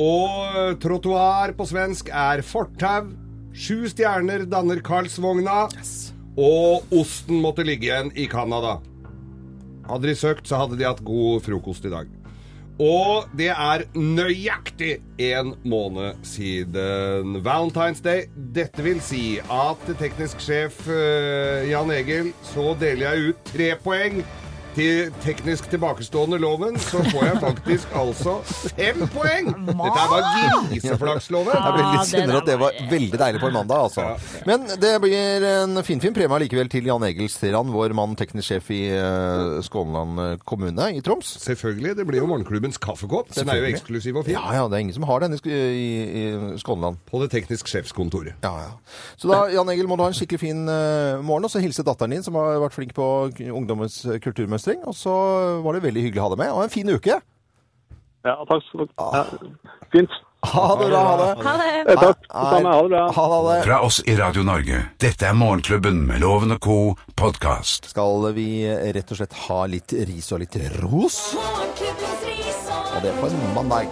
Speaker 4: Og trottoar på svensk er fortau. Sju stjerner danner Karlsvogna, og osten måtte ligge igjen i Canada. Hadde de søkt, så hadde de hatt god frokost i dag. Og det er nøyaktig en måned siden Valentine's Day. Dette vil si at teknisk sjef eh, Jan Egil, så deler jeg ut tre poeng til teknisk tilbakestående loven. Så får jeg faktisk altså fem poeng! Dette er bare
Speaker 2: Jeg
Speaker 4: griseflaksloven.
Speaker 2: ble
Speaker 3: Ja,
Speaker 2: litt
Speaker 3: det
Speaker 2: synder
Speaker 3: der
Speaker 2: at det
Speaker 3: var-
Speaker 2: var veldig deilig på en mandag, altså. Men det blir en finfin premie allikevel til Jan Egil Strand, vår mann teknisk sjef i eh, Skånland kommune i Troms.
Speaker 4: Selvfølgelig. Det blir jo morgenklubbens kaffekopp. Den er jo
Speaker 2: Selvfølgelig.
Speaker 4: eksklusiv og fin.
Speaker 2: Ja, ja, det er ingen som har denne i, Sk- i, i Skånland.
Speaker 4: På det teknisk sjefskontoret.
Speaker 2: Ja, ja. Så da, Jan Egil, må du ha en skikkelig fin eh, morgen, og så hilse datteren din, som har vært flink på k- ungdommens eh, kulturmønstring. Og så var det veldig hyggelig å ha deg med, og en fin uke!
Speaker 9: Ja, takk skal du ha. Ja. Fint.
Speaker 2: Ha det bra! Ha det!
Speaker 3: Ha det!
Speaker 9: Eh, Takk. Det samme. Ha det bra.
Speaker 2: Ha det, ha det.
Speaker 1: Fra oss i Radio Norge. Dette er Morgenklubben med Loven og co. podkast.
Speaker 2: Skal vi eh, rett og slett ha litt ris og litt ros?
Speaker 5: Morgenklubbens ris og
Speaker 2: Og det på en mandag.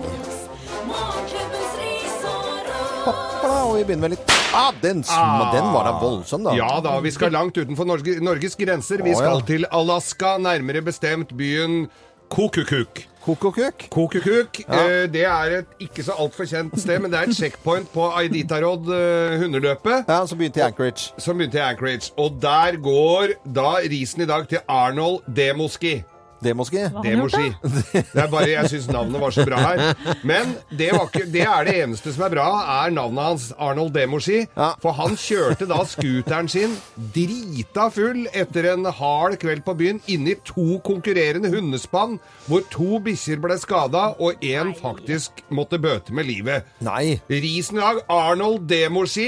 Speaker 5: Morgenklubbens ris og ros.
Speaker 2: Hoppla, og vi begynner med litt ah, den, sm- den var da voldsom, da.
Speaker 4: Ja da, vi skal langt utenfor Norge, Norges grenser. Vi
Speaker 2: Å,
Speaker 4: skal
Speaker 2: ja.
Speaker 4: til Alaska, nærmere bestemt byen Kokukuk.
Speaker 2: Kokokuk.
Speaker 4: Kokukuk, eh, det er et ikke så altfor kjent sted, men det er et checkpoint på Iditarod eh, hundeløpet.
Speaker 2: Ja, så begynte jeg i Anchorage.
Speaker 4: Som begynte i Anchorage. Og der går da risen i dag til Arnold Demoski.
Speaker 2: Det måske.
Speaker 3: Hva?
Speaker 4: Det
Speaker 3: Han
Speaker 4: må
Speaker 3: har
Speaker 4: si. Det er bare, jeg syns navnet var så bra her. Men det, var ikke, det er det eneste som er bra, er navnet hans, Arnold Demoski.
Speaker 2: Ja.
Speaker 4: For han kjørte da scooteren sin drita full etter en hard kveld på byen inni to konkurrerende hundespann, hvor to bikkjer ble skada og én faktisk måtte bøte med livet.
Speaker 2: Nei.
Speaker 4: Risen i dag, Arnold Demoski,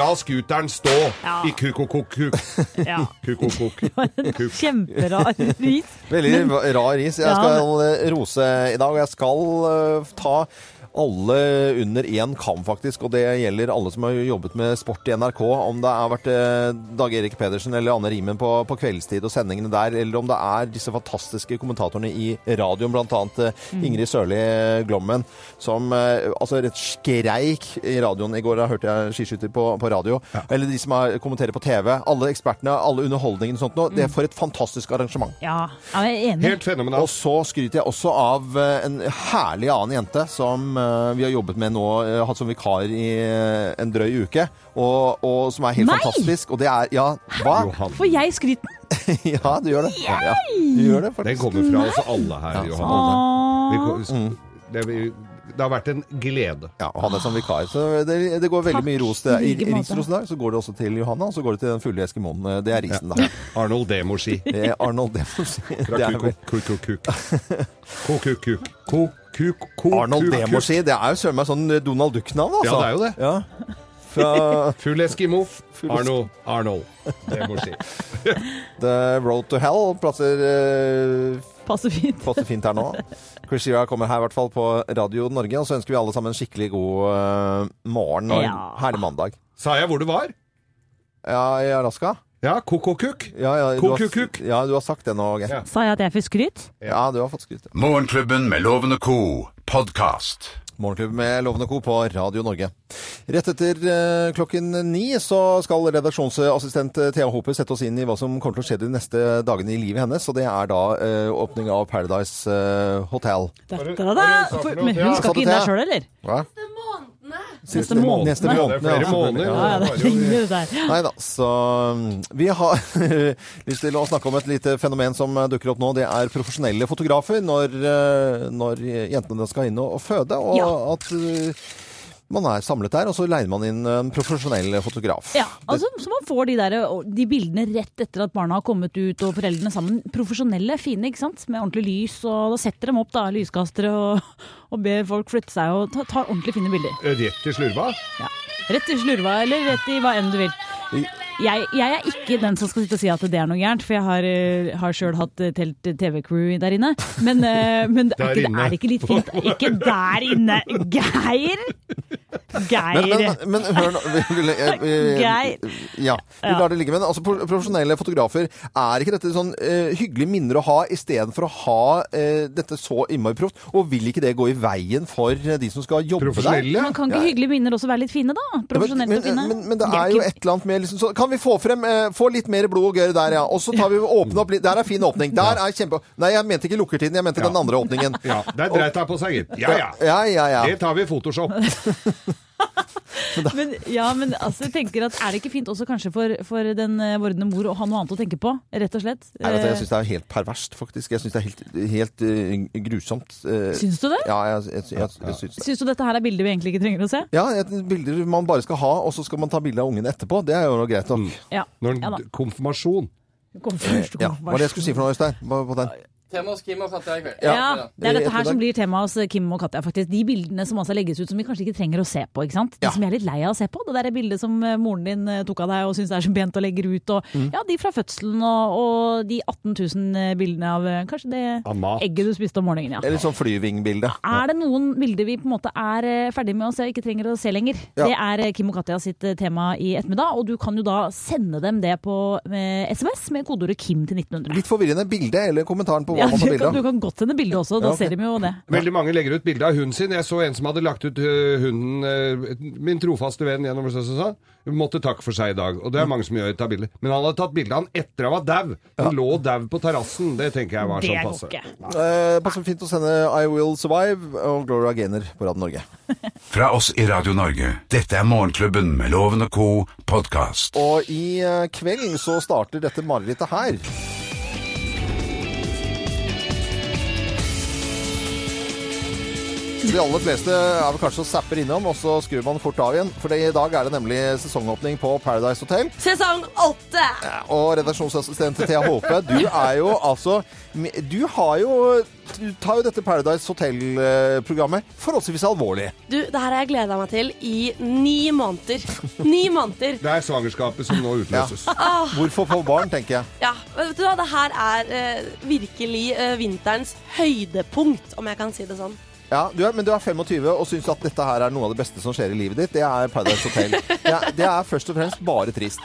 Speaker 4: la scooteren stå
Speaker 3: Ja.
Speaker 4: i kukokokuk.
Speaker 3: Ja.
Speaker 4: Kukokok. Kuk.
Speaker 3: Kjemperar ris.
Speaker 2: Veldig rar ris. Jeg
Speaker 3: Ja,
Speaker 2: skal eh, rose i dag, og jeg skal eh, ta alle under én kam, faktisk. Og det gjelder alle som har jobbet med sport i NRK. Om det har vært eh, Dag Erik Pedersen eller Anne Rimen på, på kveldstid og sendingene der, eller om det er disse fantastiske kommentatorene i radioen, bl.a. Mm. Ingrid Sørli Glommen, som eh, altså rett skreik i radioen i går. Da hørte jeg skiskytter på, på radio. Eller de som har, kommenterer på TV. Alle ekspertene, alle underholdningene og sånt noe. Det er for et fantastisk arrangement.
Speaker 3: Ja, ja, jeg er enig.
Speaker 4: Helt fenomenalt.
Speaker 2: Og så skryter jeg også av eh, en herlig annen jente som eh, vi har jobbet med nå, eh, hatt som vikar i eh, en drøy uke, og, og som er helt
Speaker 3: Nei!
Speaker 2: fantastisk. Og det er Ja, hva?
Speaker 4: Johan.
Speaker 3: Får jeg skryten?
Speaker 2: ja, du gjør det. Ja, du gjør det
Speaker 4: Den
Speaker 2: faktisk.
Speaker 4: kommer fra oss alle her, Johan.
Speaker 3: Åh.
Speaker 2: Mm.
Speaker 4: Vi ko- Det, vi- det har vært en glede.
Speaker 2: Ja, og han er som vikar, så det, det går veldig
Speaker 3: Takk,
Speaker 2: mye ros til
Speaker 3: i
Speaker 2: i-
Speaker 3: like måte.
Speaker 2: Risros i dag. Så går det også til Johanna, og så går det til den fulle eskimoen. Det er risen, da.
Speaker 4: Arnold Demoski.
Speaker 2: Det er Arnold Demos.
Speaker 4: Fra
Speaker 2: Det er vel
Speaker 4: Kukukuk. Kukukuk. Kukukuk.
Speaker 2: Arnold Demos, det er jo søren meg sånn Donald Duck-navn, altså.
Speaker 4: Ja, det er jo det.
Speaker 2: Ja. Fra
Speaker 4: Full Eskimo. Arnold. Arnold Demoski.
Speaker 2: The Road to Hell plasser eh,
Speaker 3: Passer fint.
Speaker 2: passer fint her nå. Chris Shearer kommer her i hvert fall på Radio Norge, og så ønsker vi alle sammen en skikkelig god eh, morgen og en
Speaker 3: Ja.
Speaker 2: herlig mandag.
Speaker 4: Sa jeg hvor det var?
Speaker 2: Ja, i Alaska?
Speaker 4: Ja, Kokokuk.
Speaker 2: Ja, ja, du har-
Speaker 4: Kukukuk.
Speaker 2: Ja, du har sagt det nå, Geir.
Speaker 4: Ja.
Speaker 3: Sa jeg at jeg fikk skryt?
Speaker 2: Ja, du har fått skryt.
Speaker 1: Morgenklubben med Loven og co. podkast.
Speaker 2: Morgenklubben med Loven og Co. på Radio Norge. Rett etter eh, klokken ni så skal redaksjonsassistent eh, Thea Hope sette oss inn i hva som kommer til å skje de neste dagene i livet hennes, og det er da eh, åpning av Paradise eh, Hotel.
Speaker 3: Da,
Speaker 4: Bare-
Speaker 3: da, da.
Speaker 4: bare hun sa for
Speaker 3: For,
Speaker 4: noe.
Speaker 3: men
Speaker 4: Ja,
Speaker 3: hun
Speaker 2: sa du
Speaker 3: skal ikke inn der
Speaker 2: det?
Speaker 3: sjøl, eller?
Speaker 2: Hva?
Speaker 3: Neste måned.
Speaker 2: Neste
Speaker 3: Nei.
Speaker 4: Ja, det
Speaker 2: måned.
Speaker 4: er flere måneder.
Speaker 3: Ja, ja, det
Speaker 4: Det var jo-
Speaker 3: ringer det der.
Speaker 2: Nei da, så um, vi har lyst til å snakke om et lite fenomen som uh, dukker opp nå. Det er profesjonelle fotografer når, uh, når jentene skal inn og og føde, og
Speaker 3: Ja.
Speaker 2: at uh, man er samlet der, og så leier man inn en profesjonell fotograf.
Speaker 3: Ja, altså, så man får de, der, de bildene rett etter at barna har kommet ut og foreldrene sammen. Profesjonelle, fine, ikke sant? med ordentlig lys. og Da setter de opp da, lyskastere og, og ber folk flytte seg og ta, tar ordentlig fine bilder.
Speaker 4: Rett i slurva.
Speaker 3: Ja. Rett i slurva eller rett i hva enn du vil. Jeg, jeg er ikke den som skal sitte og si at det er noe gærent, for jeg har, eh, har sjøl hatt eh, telt eh, TV-crew der inne. Men, eh, men det
Speaker 4: Der
Speaker 3: er, ikke, det
Speaker 4: inne.
Speaker 3: er ikke litt fint Ikke der inne, Geir! Geir.
Speaker 2: Men, men, men hør nå vi- vi- jeg- vi-
Speaker 3: Geir.
Speaker 2: Ja, vi lar det ligge. Men altså, pro- profesjonelle fotografer, er ikke dette sånn eh, hyggelige minner å ha istedenfor å ha eh, dette så innmari proft? Og vil ikke det gå i veien for eh, de som skal jobbe der?
Speaker 4: Profesjonelle?
Speaker 3: Man kan ikke
Speaker 2: Ja.
Speaker 3: hyggelige minner også være litt fine, da?
Speaker 2: Ja,
Speaker 3: Profesjonelt
Speaker 2: men,
Speaker 3: og fine.
Speaker 2: men, men, men det er jo et eller annet med liksom, så Kan vi få frem eh, Få litt mer blod og gørr der, ja. Og så tar vi og åpner opp litt. Der er fin åpning. Der er kjempe... Nei, jeg mente ikke lukkertiden, jeg mente
Speaker 4: Ja.
Speaker 2: den andre åpningen.
Speaker 4: Ja, der dreit jeg på seg, gitt. Ja, ja.
Speaker 2: Ja, ja, ja.
Speaker 4: Det tar vi i Photoshop.
Speaker 3: Men, ja, men altså, jeg tenker at er det ikke fint også kanskje for, for den eh, vordende mor å ha noe annet å tenke på, rett og slett?
Speaker 2: Nei, vet du, jeg
Speaker 3: Eh,
Speaker 2: syns det er helt perverst, faktisk. Jeg syns det er helt, helt eh, grusomt. eh.
Speaker 3: Syns du det?
Speaker 2: Ja, jeg, jeg, jeg, jeg syns det.
Speaker 3: Syns du dette her er bilder vi egentlig ikke trenger å se?
Speaker 2: Ja, et, bilder man bare skal ha, og så skal man ta bilde av ungen etterpå. Det er jo noe greit
Speaker 4: Mm.
Speaker 2: nok.
Speaker 3: Ja.
Speaker 4: Når
Speaker 3: ja da.
Speaker 4: den, konfirmasjon.
Speaker 3: Kom først, kom
Speaker 2: Ja, hva er det jeg skulle si for noe, Øystein? På, på den?
Speaker 10: Tema hos Kim og Katja i kveld.
Speaker 3: Ja.
Speaker 10: Ja.
Speaker 3: Det er dette her
Speaker 2: Ettermiddag.
Speaker 3: som blir temaet hos Kim og Katja. faktisk. De bildene som altså legges ut som vi kanskje ikke trenger å se på. ikke sant? De
Speaker 2: Ja.
Speaker 3: som jeg er litt lei av å se på. Det der bildet som eh, moren din eh, tok av deg og syns det er så pent og legger ut. Og,
Speaker 2: Mm.
Speaker 3: Ja, De fra fødselen og, og de 18 000 bildene av eh, kanskje det
Speaker 4: Av mat.
Speaker 3: egget du spiste om morgenen. ja.
Speaker 2: Eller sånn flyvingbilde.
Speaker 3: Er det noen bilder vi på en måte er eh, ferdig med å se og ikke trenger å se lenger?
Speaker 2: Ja.
Speaker 3: Det er eh, Kim og Katja sitt eh, tema i ettermiddag, og du kan jo da sende dem det på eh, SMS med kodeordet KIM til 1900.
Speaker 2: Litt forvirrende bilde eller kommentaren på hva
Speaker 3: Ja,
Speaker 2: man tar
Speaker 3: du, kan,
Speaker 2: bilde
Speaker 3: du
Speaker 2: av.
Speaker 3: kan godt sende bilde også,
Speaker 2: Ja,
Speaker 3: da
Speaker 2: ok.
Speaker 3: ser de jo det.
Speaker 4: Veldig mange legger ut bilde av hunden sin. Jeg så en som hadde lagt ut øh, hunden øh, Min trofaste venn gjennom så- så- så. Måtte takke for seg i dag. Og det er mange som gjør, tar bilder. Men han hadde tatt bilde av han etter han var dau. Han lå dau på terrassen. Det tenker jeg var
Speaker 3: Det
Speaker 4: sånn
Speaker 3: går
Speaker 4: passe.
Speaker 3: ikke.
Speaker 2: Eh, passer fint å sende I Will Survive og Gloria Gaynor på Radio Norge.
Speaker 1: Fra oss i Radio Norge. Dette er Morgenklubben med Loven og co. podkast.
Speaker 2: Og i eh, kveld så starter dette marerittet her. De aller fleste er vel kanskje og zapper innom, og så skrur man fort av igjen. For i dag er det nemlig sesongåpning på Paradise Hotel.
Speaker 11: Sesong åtte!
Speaker 2: Og redaksjonsassistent Thea Håpe, du er jo altså Du har jo Du tar jo dette Paradise Hotel-programmet forholdsvis alvorlig.
Speaker 11: Du, det her har jeg gleda meg til i ni måneder. Ni måneder!
Speaker 4: Det er svangerskapet som nå utløses.
Speaker 2: Hvorfor få barn, tenker jeg.
Speaker 11: Ja, vet du hva, det her er eh, virkelig eh, vinterens høydepunkt, om jeg kan si det sånn.
Speaker 2: Ja, du er, men du er 25 og syns at dette her er noe av det beste som skjer i livet ditt. Det er Paradise Hotel. Det er, det er først og fremst bare trist.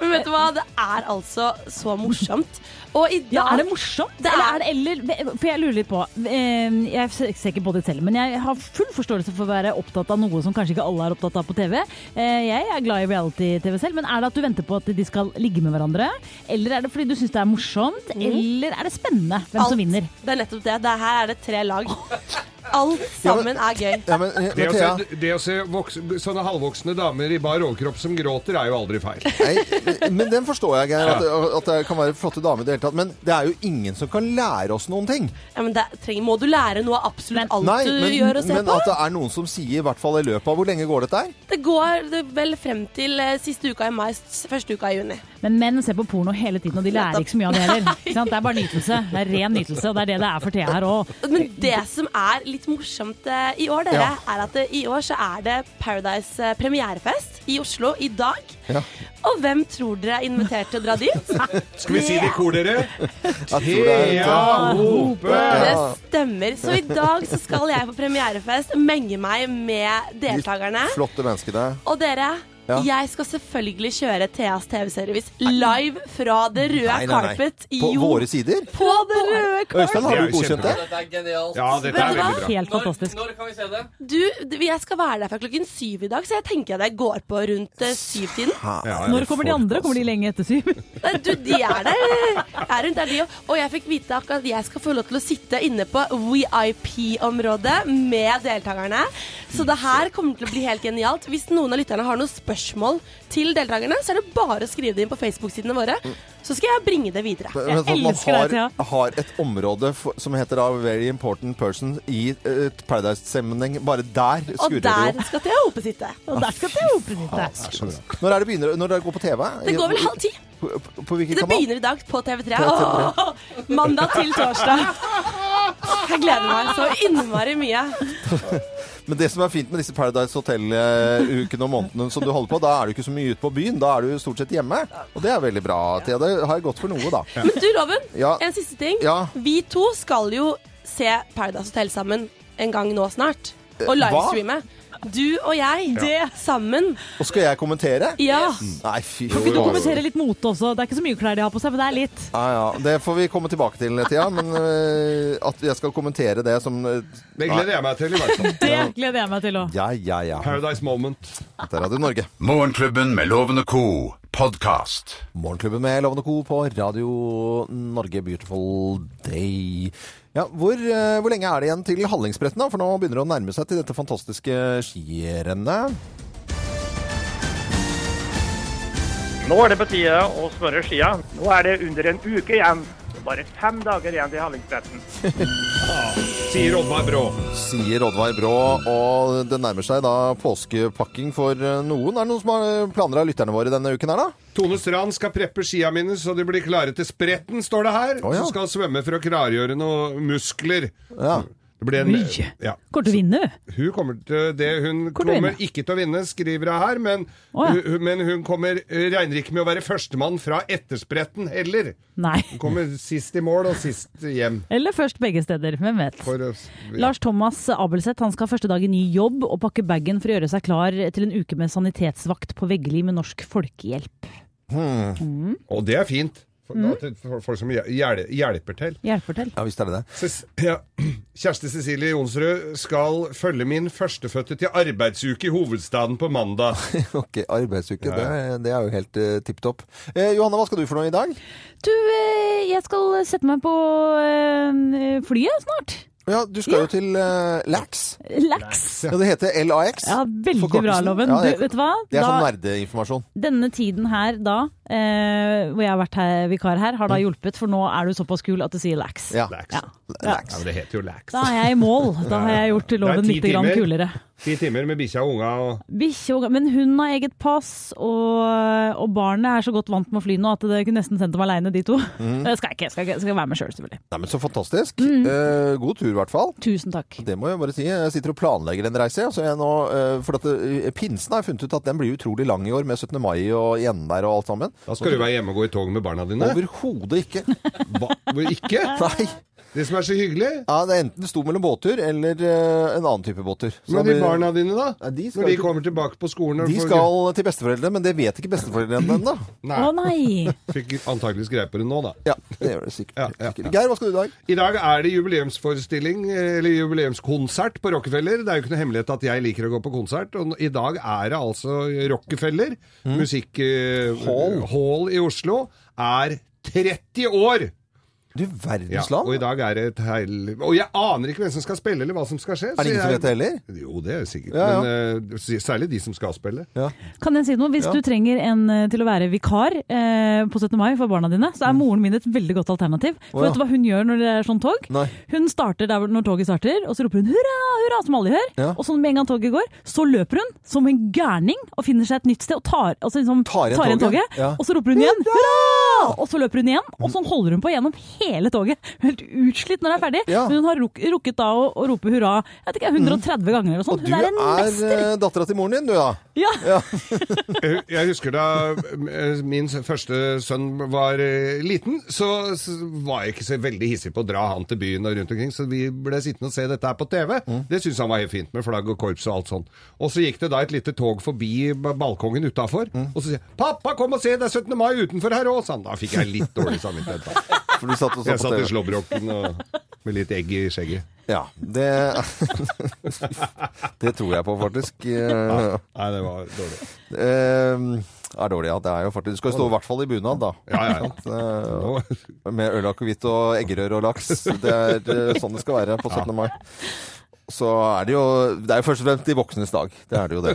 Speaker 11: Men vet du hva, det er altså så morsomt. Og i dag
Speaker 3: Ja, er det morsomt?
Speaker 11: Det er-
Speaker 3: Eller er det eller For jeg lurer litt på eh, Jeg ser ikke på det selv, men jeg har full forståelse for å være opptatt av noe som kanskje ikke alle er opptatt av på TV. Eh, Jeg er glad i reality-TV selv, men er det at du venter på at de skal ligge med hverandre? Eller er det fordi du syns det er morsomt? Eller er det spennende hvem
Speaker 11: Alt.
Speaker 3: som vinner?
Speaker 11: Det er nettopp det. det her er det tre lag. Alt sammen er gøy.
Speaker 2: Ja, men, eh, men
Speaker 4: Det å
Speaker 2: Thea,
Speaker 4: se, det å se voks, sånne halvvoksne damer i bar overkropp som gråter, er jo aldri feil.
Speaker 2: nei, men den forstår jeg, Geir. At, at det kan være flotte damer i det hele tatt. Men det er jo ingen som kan lære oss noen ting.
Speaker 11: Ja, men det trenger, må du lære noe av absolutt alt
Speaker 2: Nei,
Speaker 11: du
Speaker 2: men,
Speaker 11: gjør og ser
Speaker 2: men altså-
Speaker 11: på?
Speaker 2: at det er noen som sier, i hvert fall i løpet av Hvor lenge går dette her?
Speaker 11: Det går det vel frem til eh, siste uka i mai, s- første uka i juni.
Speaker 3: Men menn ser på porno hele tiden, og de lærer ikke så mye av det heller. Ikke sant? Det er bare nytelse. Det er ren nytelse, og det er det det er for Thea her òg.
Speaker 11: Men det som er litt morsomt eh, i år, dere,
Speaker 2: Ja.
Speaker 11: er at eh, i år så er det Paradise eh, premierefest i Oslo i dag.
Speaker 2: Ja.
Speaker 11: Og hvem tror dere er invitert til å dra dit?
Speaker 4: Skal vi si det i kor, dere?
Speaker 2: Jeg tror det er-
Speaker 4: Thea Hope!
Speaker 11: Det stemmer. Så i dag så skal jeg på premierefest menge meg med deltakerne.
Speaker 2: Flotte menneskene.
Speaker 11: Og dere,
Speaker 2: Ja.
Speaker 11: jeg skal selvfølgelig kjøre Theas TV-service live fra det røde
Speaker 2: Nei, nei, nei.
Speaker 11: carpet.
Speaker 2: På
Speaker 11: Jo,
Speaker 2: våre sider?
Speaker 11: på det røde
Speaker 2: Øystein,
Speaker 4: Det
Speaker 2: har
Speaker 4: er
Speaker 2: du
Speaker 4: jo
Speaker 2: godkjent det?
Speaker 10: Dette er genialt.
Speaker 4: Ja, dette er veldig bra.
Speaker 3: Helt fantastisk.
Speaker 10: Når, når kan vi se det?
Speaker 11: Du, d- jeg skal være der fra klokken syv i dag, så jeg tenker at jeg går på rundt eh, syvtiden.
Speaker 4: Ja,
Speaker 3: Når kommer de andre? Kommer de lenge etter syv?
Speaker 11: Nei, du, de er der. Jeg er rundt der, de òg. Og jeg fikk vite akkurat at jeg skal få lov til å sitte inne på VIP-området med deltakerne. Så det her kommer til å bli helt genialt. Hvis noen av lytterne har noen spørsmål til deltakerne, så er det bare å skrive det inn på Facebook-sidene våre. Så skal jeg bringe det videre.
Speaker 2: Men sånn at man
Speaker 3: elsker deg,
Speaker 2: har, har et område for, som heter da Very Important Person i eh, Paradise-sammenheng. Bare der
Speaker 11: Og
Speaker 2: skurrer det
Speaker 11: der
Speaker 2: jo.
Speaker 11: skal Thea Hope sitte.
Speaker 3: Og der skal Thea opp litt.
Speaker 2: Når er det begynner Når det går på TV?
Speaker 11: Det går vel halv ti.
Speaker 2: På, på, på hvilken
Speaker 11: Det
Speaker 2: kanal?
Speaker 11: begynner i dag på TV3. Åh, mandag til torsdag. Jeg gleder meg så innmari mye.
Speaker 2: Men det som er fint med disse Paradise Hotel-ukene og månedene som du holder på, da er du ikke så mye ute på byen. Da er du stort sett hjemme. Og det er veldig bra. Thea, det har jeg gått for noe, da.
Speaker 11: Men du, Loven,
Speaker 2: Ja.
Speaker 11: en siste ting.
Speaker 2: Ja.
Speaker 11: Vi to skal jo se Paradise Hotel sammen en gang nå snart.
Speaker 2: Eh,
Speaker 11: Og
Speaker 2: hva?
Speaker 11: livestreame. Du og jeg.
Speaker 2: Ja.
Speaker 11: Det sammen.
Speaker 2: Og skal jeg kommentere?
Speaker 11: Ja.
Speaker 2: Nei, fy
Speaker 3: Kan ikke du kommentere litt mote også? Det er ikke så mye klær de har på seg, men det er litt.
Speaker 2: Ja, ja. Det får vi komme tilbake til, Thea. Men øh, at jeg skal kommentere det som
Speaker 4: Det gleder jeg meg til, i hvert fall.
Speaker 3: Det gleder jeg meg til òg.
Speaker 2: Ja, ja, ja.
Speaker 4: Paradise Moment.
Speaker 2: Dette er Radio Norge.
Speaker 1: Morgenklubben med Loven og Co. Podcast.
Speaker 2: Morgenklubben med Lovende Co. på Radio Norge Beautiful Day. Ja, hvor, eh, hvor lenge er det igjen til Hallingsbretten, da? For nå begynner det å nærme seg til dette fantastiske skirennet.
Speaker 10: Nå er det på tide å smøre skia. Nå er det under en uke igjen. Det er Bare fem dager igjen til Hallingsbretten.
Speaker 4: Sier Oddvar Brå.
Speaker 2: Sier Oddvar Brå. Og det nærmer seg da påskepakking for eh, noen. Er det noen som har planer av lytterne våre denne uken her, da?
Speaker 4: Tone Strand skal preppe skia mine så de blir klare til spretten, står det her.
Speaker 2: Å, ja.
Speaker 4: Så skal han svømme for å klargjøre noen muskler.
Speaker 2: Ja.
Speaker 4: Det blir en,
Speaker 3: Oi.
Speaker 4: ja.
Speaker 3: Kommer til å vinne, du.
Speaker 4: Hun kommer til det hun
Speaker 3: Kommer til å
Speaker 4: kommer
Speaker 3: vinne.
Speaker 4: ikke til å vinne, skriver jeg her, men,
Speaker 3: Å, ja.
Speaker 4: hun, men hun kommer eh, regner ikke med å være førstemann fra etterspretten heller.
Speaker 3: Nei.
Speaker 4: Hun kommer sist i mål og sist hjem.
Speaker 3: Eller først begge steder. Hvem vet.
Speaker 4: For, å- ja.
Speaker 3: Lars Thomas Abelseth han skal første dag i ny jobb og pakke bagen for å gjøre seg klar til en uke med sanitetsvakt på Veggeli med Norsk Folkehjelp.
Speaker 4: Og det er fint. For,
Speaker 3: Mm.
Speaker 4: da, til- for folk som hjel- hjel- hjelper til.
Speaker 3: Hjelper til.
Speaker 2: Ja visst er det det.
Speaker 4: Ces- Ja. Kjersti Cecilie Jonsrud skal følge min førstefødte til arbeidsuke i hovedstaden på mandag.
Speaker 2: Ok, arbeidsuke. Det, det er jo helt uh, tipp topp. Eh, Johanne, hva skal du for noe i dag?
Speaker 3: Du, eh, jeg skal sette meg på eh, flyet snart.
Speaker 2: Ja, du skal jo til eh, LAX.
Speaker 3: Lax.
Speaker 2: Ja, det heter LAX.
Speaker 3: Ja, veldig
Speaker 2: Forkortelsen.
Speaker 3: bra, Loven.
Speaker 2: Ja, det-
Speaker 3: du, vet du hva?
Speaker 2: Det er
Speaker 3: Da-
Speaker 2: sånn nerdeinformasjon.
Speaker 3: Denne tiden her da, eh, hvor jeg har vært her, vikar her, har da
Speaker 4: Mm.
Speaker 3: hjulpet, for nå er du såpass kul at du sier lax.
Speaker 2: Ja.
Speaker 4: Lax.
Speaker 3: Ja.
Speaker 4: Ja, men det heter jo lax.
Speaker 3: Da er jeg i mål. Da har jeg gjort loven
Speaker 4: Det er ti
Speaker 3: litt grann
Speaker 4: timer.
Speaker 3: kulere.
Speaker 4: Ti timer med bikkja og unga og
Speaker 3: Bikkje og Men hun har eget pass, og, og barnet er så godt vant med å fly nå at det kunne nesten sendt dem aleine, de to.
Speaker 4: Mm.
Speaker 3: Det skal jeg ikke. Jeg skal, ikke- jeg skal være med sjøl, selvfølgelig.
Speaker 2: Nei, men Så fantastisk. Eh, god tur, i hvert fall.
Speaker 3: Tusen takk.
Speaker 2: Det må jeg bare si. Jeg sitter og planlegger en reise. Så jeg nå, eh, for at eh, Pinsen har jeg funnet ut at den blir utrolig lang i år, med 17. mai og igjen der og alt sammen.
Speaker 4: Da skal du være hjemme og gå i tog med barna dine.
Speaker 2: Overhodet ikke.
Speaker 4: Hva? Ikke?
Speaker 2: Nei.
Speaker 4: Det som er så hyggelig.
Speaker 2: Ja, det er enten det sto mellom båttur eller eh, en annen type båttur. Så
Speaker 4: Men
Speaker 2: det
Speaker 4: de
Speaker 2: blir-
Speaker 4: barna dine, da?
Speaker 2: Ja, de skal
Speaker 4: Når de
Speaker 2: ikke-
Speaker 4: kommer tilbake på skolen og
Speaker 2: De
Speaker 4: får-
Speaker 2: skal til besteforeldrene, men det vet ikke besteforeldrene ennå.
Speaker 4: Nei,
Speaker 3: Å nei!
Speaker 4: Fikk antakeligvis greie på det nå, da.
Speaker 2: Ja, det gjør det sikkert.
Speaker 4: Ja, ja, ja.
Speaker 2: Geir, hva skal du i dag?
Speaker 4: I dag er det jubileumsforestilling, eller jubileumskonsert, på Rockefeller. Det er jo ikke noe hemmelighet at jeg liker å gå på konsert. Og i dag er det altså Rockefeller, musikk... eh,
Speaker 2: Mm. Hall.
Speaker 4: Hall i Oslo, er 30 år!
Speaker 2: Du
Speaker 4: Ja,
Speaker 2: verdens land.
Speaker 4: og i dag er det et heil... Og jeg aner ikke hvem som skal spille, eller hva som skal skje.
Speaker 2: Er det ingen som vet det heller?
Speaker 4: Jo, det er sikkert.
Speaker 2: Ja, ja.
Speaker 4: Men eh, særlig de som skal spille.
Speaker 3: Kan jeg si noe? Hvis
Speaker 2: Ja.
Speaker 3: du trenger en eh, til å være vikar eh, på 17. mai for barna dine, så er moren min et veldig godt alternativ.
Speaker 2: Mm. Å,
Speaker 3: For
Speaker 2: ja.
Speaker 3: vet du hva hun gjør når det er sånn tog?
Speaker 2: Nei.
Speaker 3: Hun starter der hvor- når toget starter, og så roper hun hurra, hurra, som alle gjør.
Speaker 2: Ja.
Speaker 3: Og så med en gang toget går, så løper hun som en gærning og finner seg et nytt sted og tar, altså liksom,
Speaker 2: Tar igjen toget. Ja. Mm.
Speaker 3: Og så roper hun igjen hurra! Og så løper hun igjen, og sånn holder hun på gjennom hele toget. Hun er Helt utslitt når det er ferdig,
Speaker 2: Ja. Mm.
Speaker 3: men hun har ruk rukket da å, å rope hurra jeg vet ikke, 130 ganger
Speaker 2: Og
Speaker 3: eller noe sånt.
Speaker 2: du
Speaker 3: Hun er
Speaker 2: er,
Speaker 3: en mester!
Speaker 2: eh, dattera til moren din, du da?
Speaker 3: Ja.
Speaker 4: Jeg jeg husker da eh, min første sønn var eh, liten, så så var jeg ikke så veldig hissig på å dra han til byen og rundt omkring, så vi ble sittende og se dette her på TV. Det syntes han var helt fint, med flagg og korps og alt sånn. Og så gikk det da et lite tog forbi ba- balkongen utafor, og så sier jeg 'Pappa, kom og se, det er 17. mai utenfor her òg', sa han. Da fikk jeg litt dårlig samvittighet. da.
Speaker 2: For du satt og så
Speaker 4: Jeg
Speaker 2: på
Speaker 4: satt i
Speaker 2: TV.
Speaker 4: slåbroken og med litt egg i skjegget.
Speaker 2: Ja, det Det tror jeg på, faktisk. Eh,
Speaker 4: Nei, det var dårlig.
Speaker 2: eh, er dårlig, ja. Det er jo faktisk Du skal jo stå i hvert fall i bunad, da.
Speaker 4: Ja, ja.
Speaker 2: Eh,
Speaker 4: Nå,
Speaker 2: Med øl, akevitt og eggerør og laks. Det er eh, sånn det skal være på 17. mai. Så er det jo Det er jo først og fremst de voksnes dag. Det er det jo det.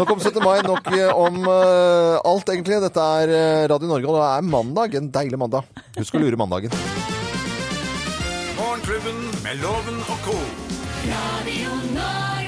Speaker 2: nok om 17. mai, nok eh, om eh, alt, egentlig. Dette er eh, Radio Norge, og det er mandag. En deilig mandag. Husk å lure mandagen.
Speaker 1: Morgenklubben med Loven og Co.
Speaker 5: Radio Norge.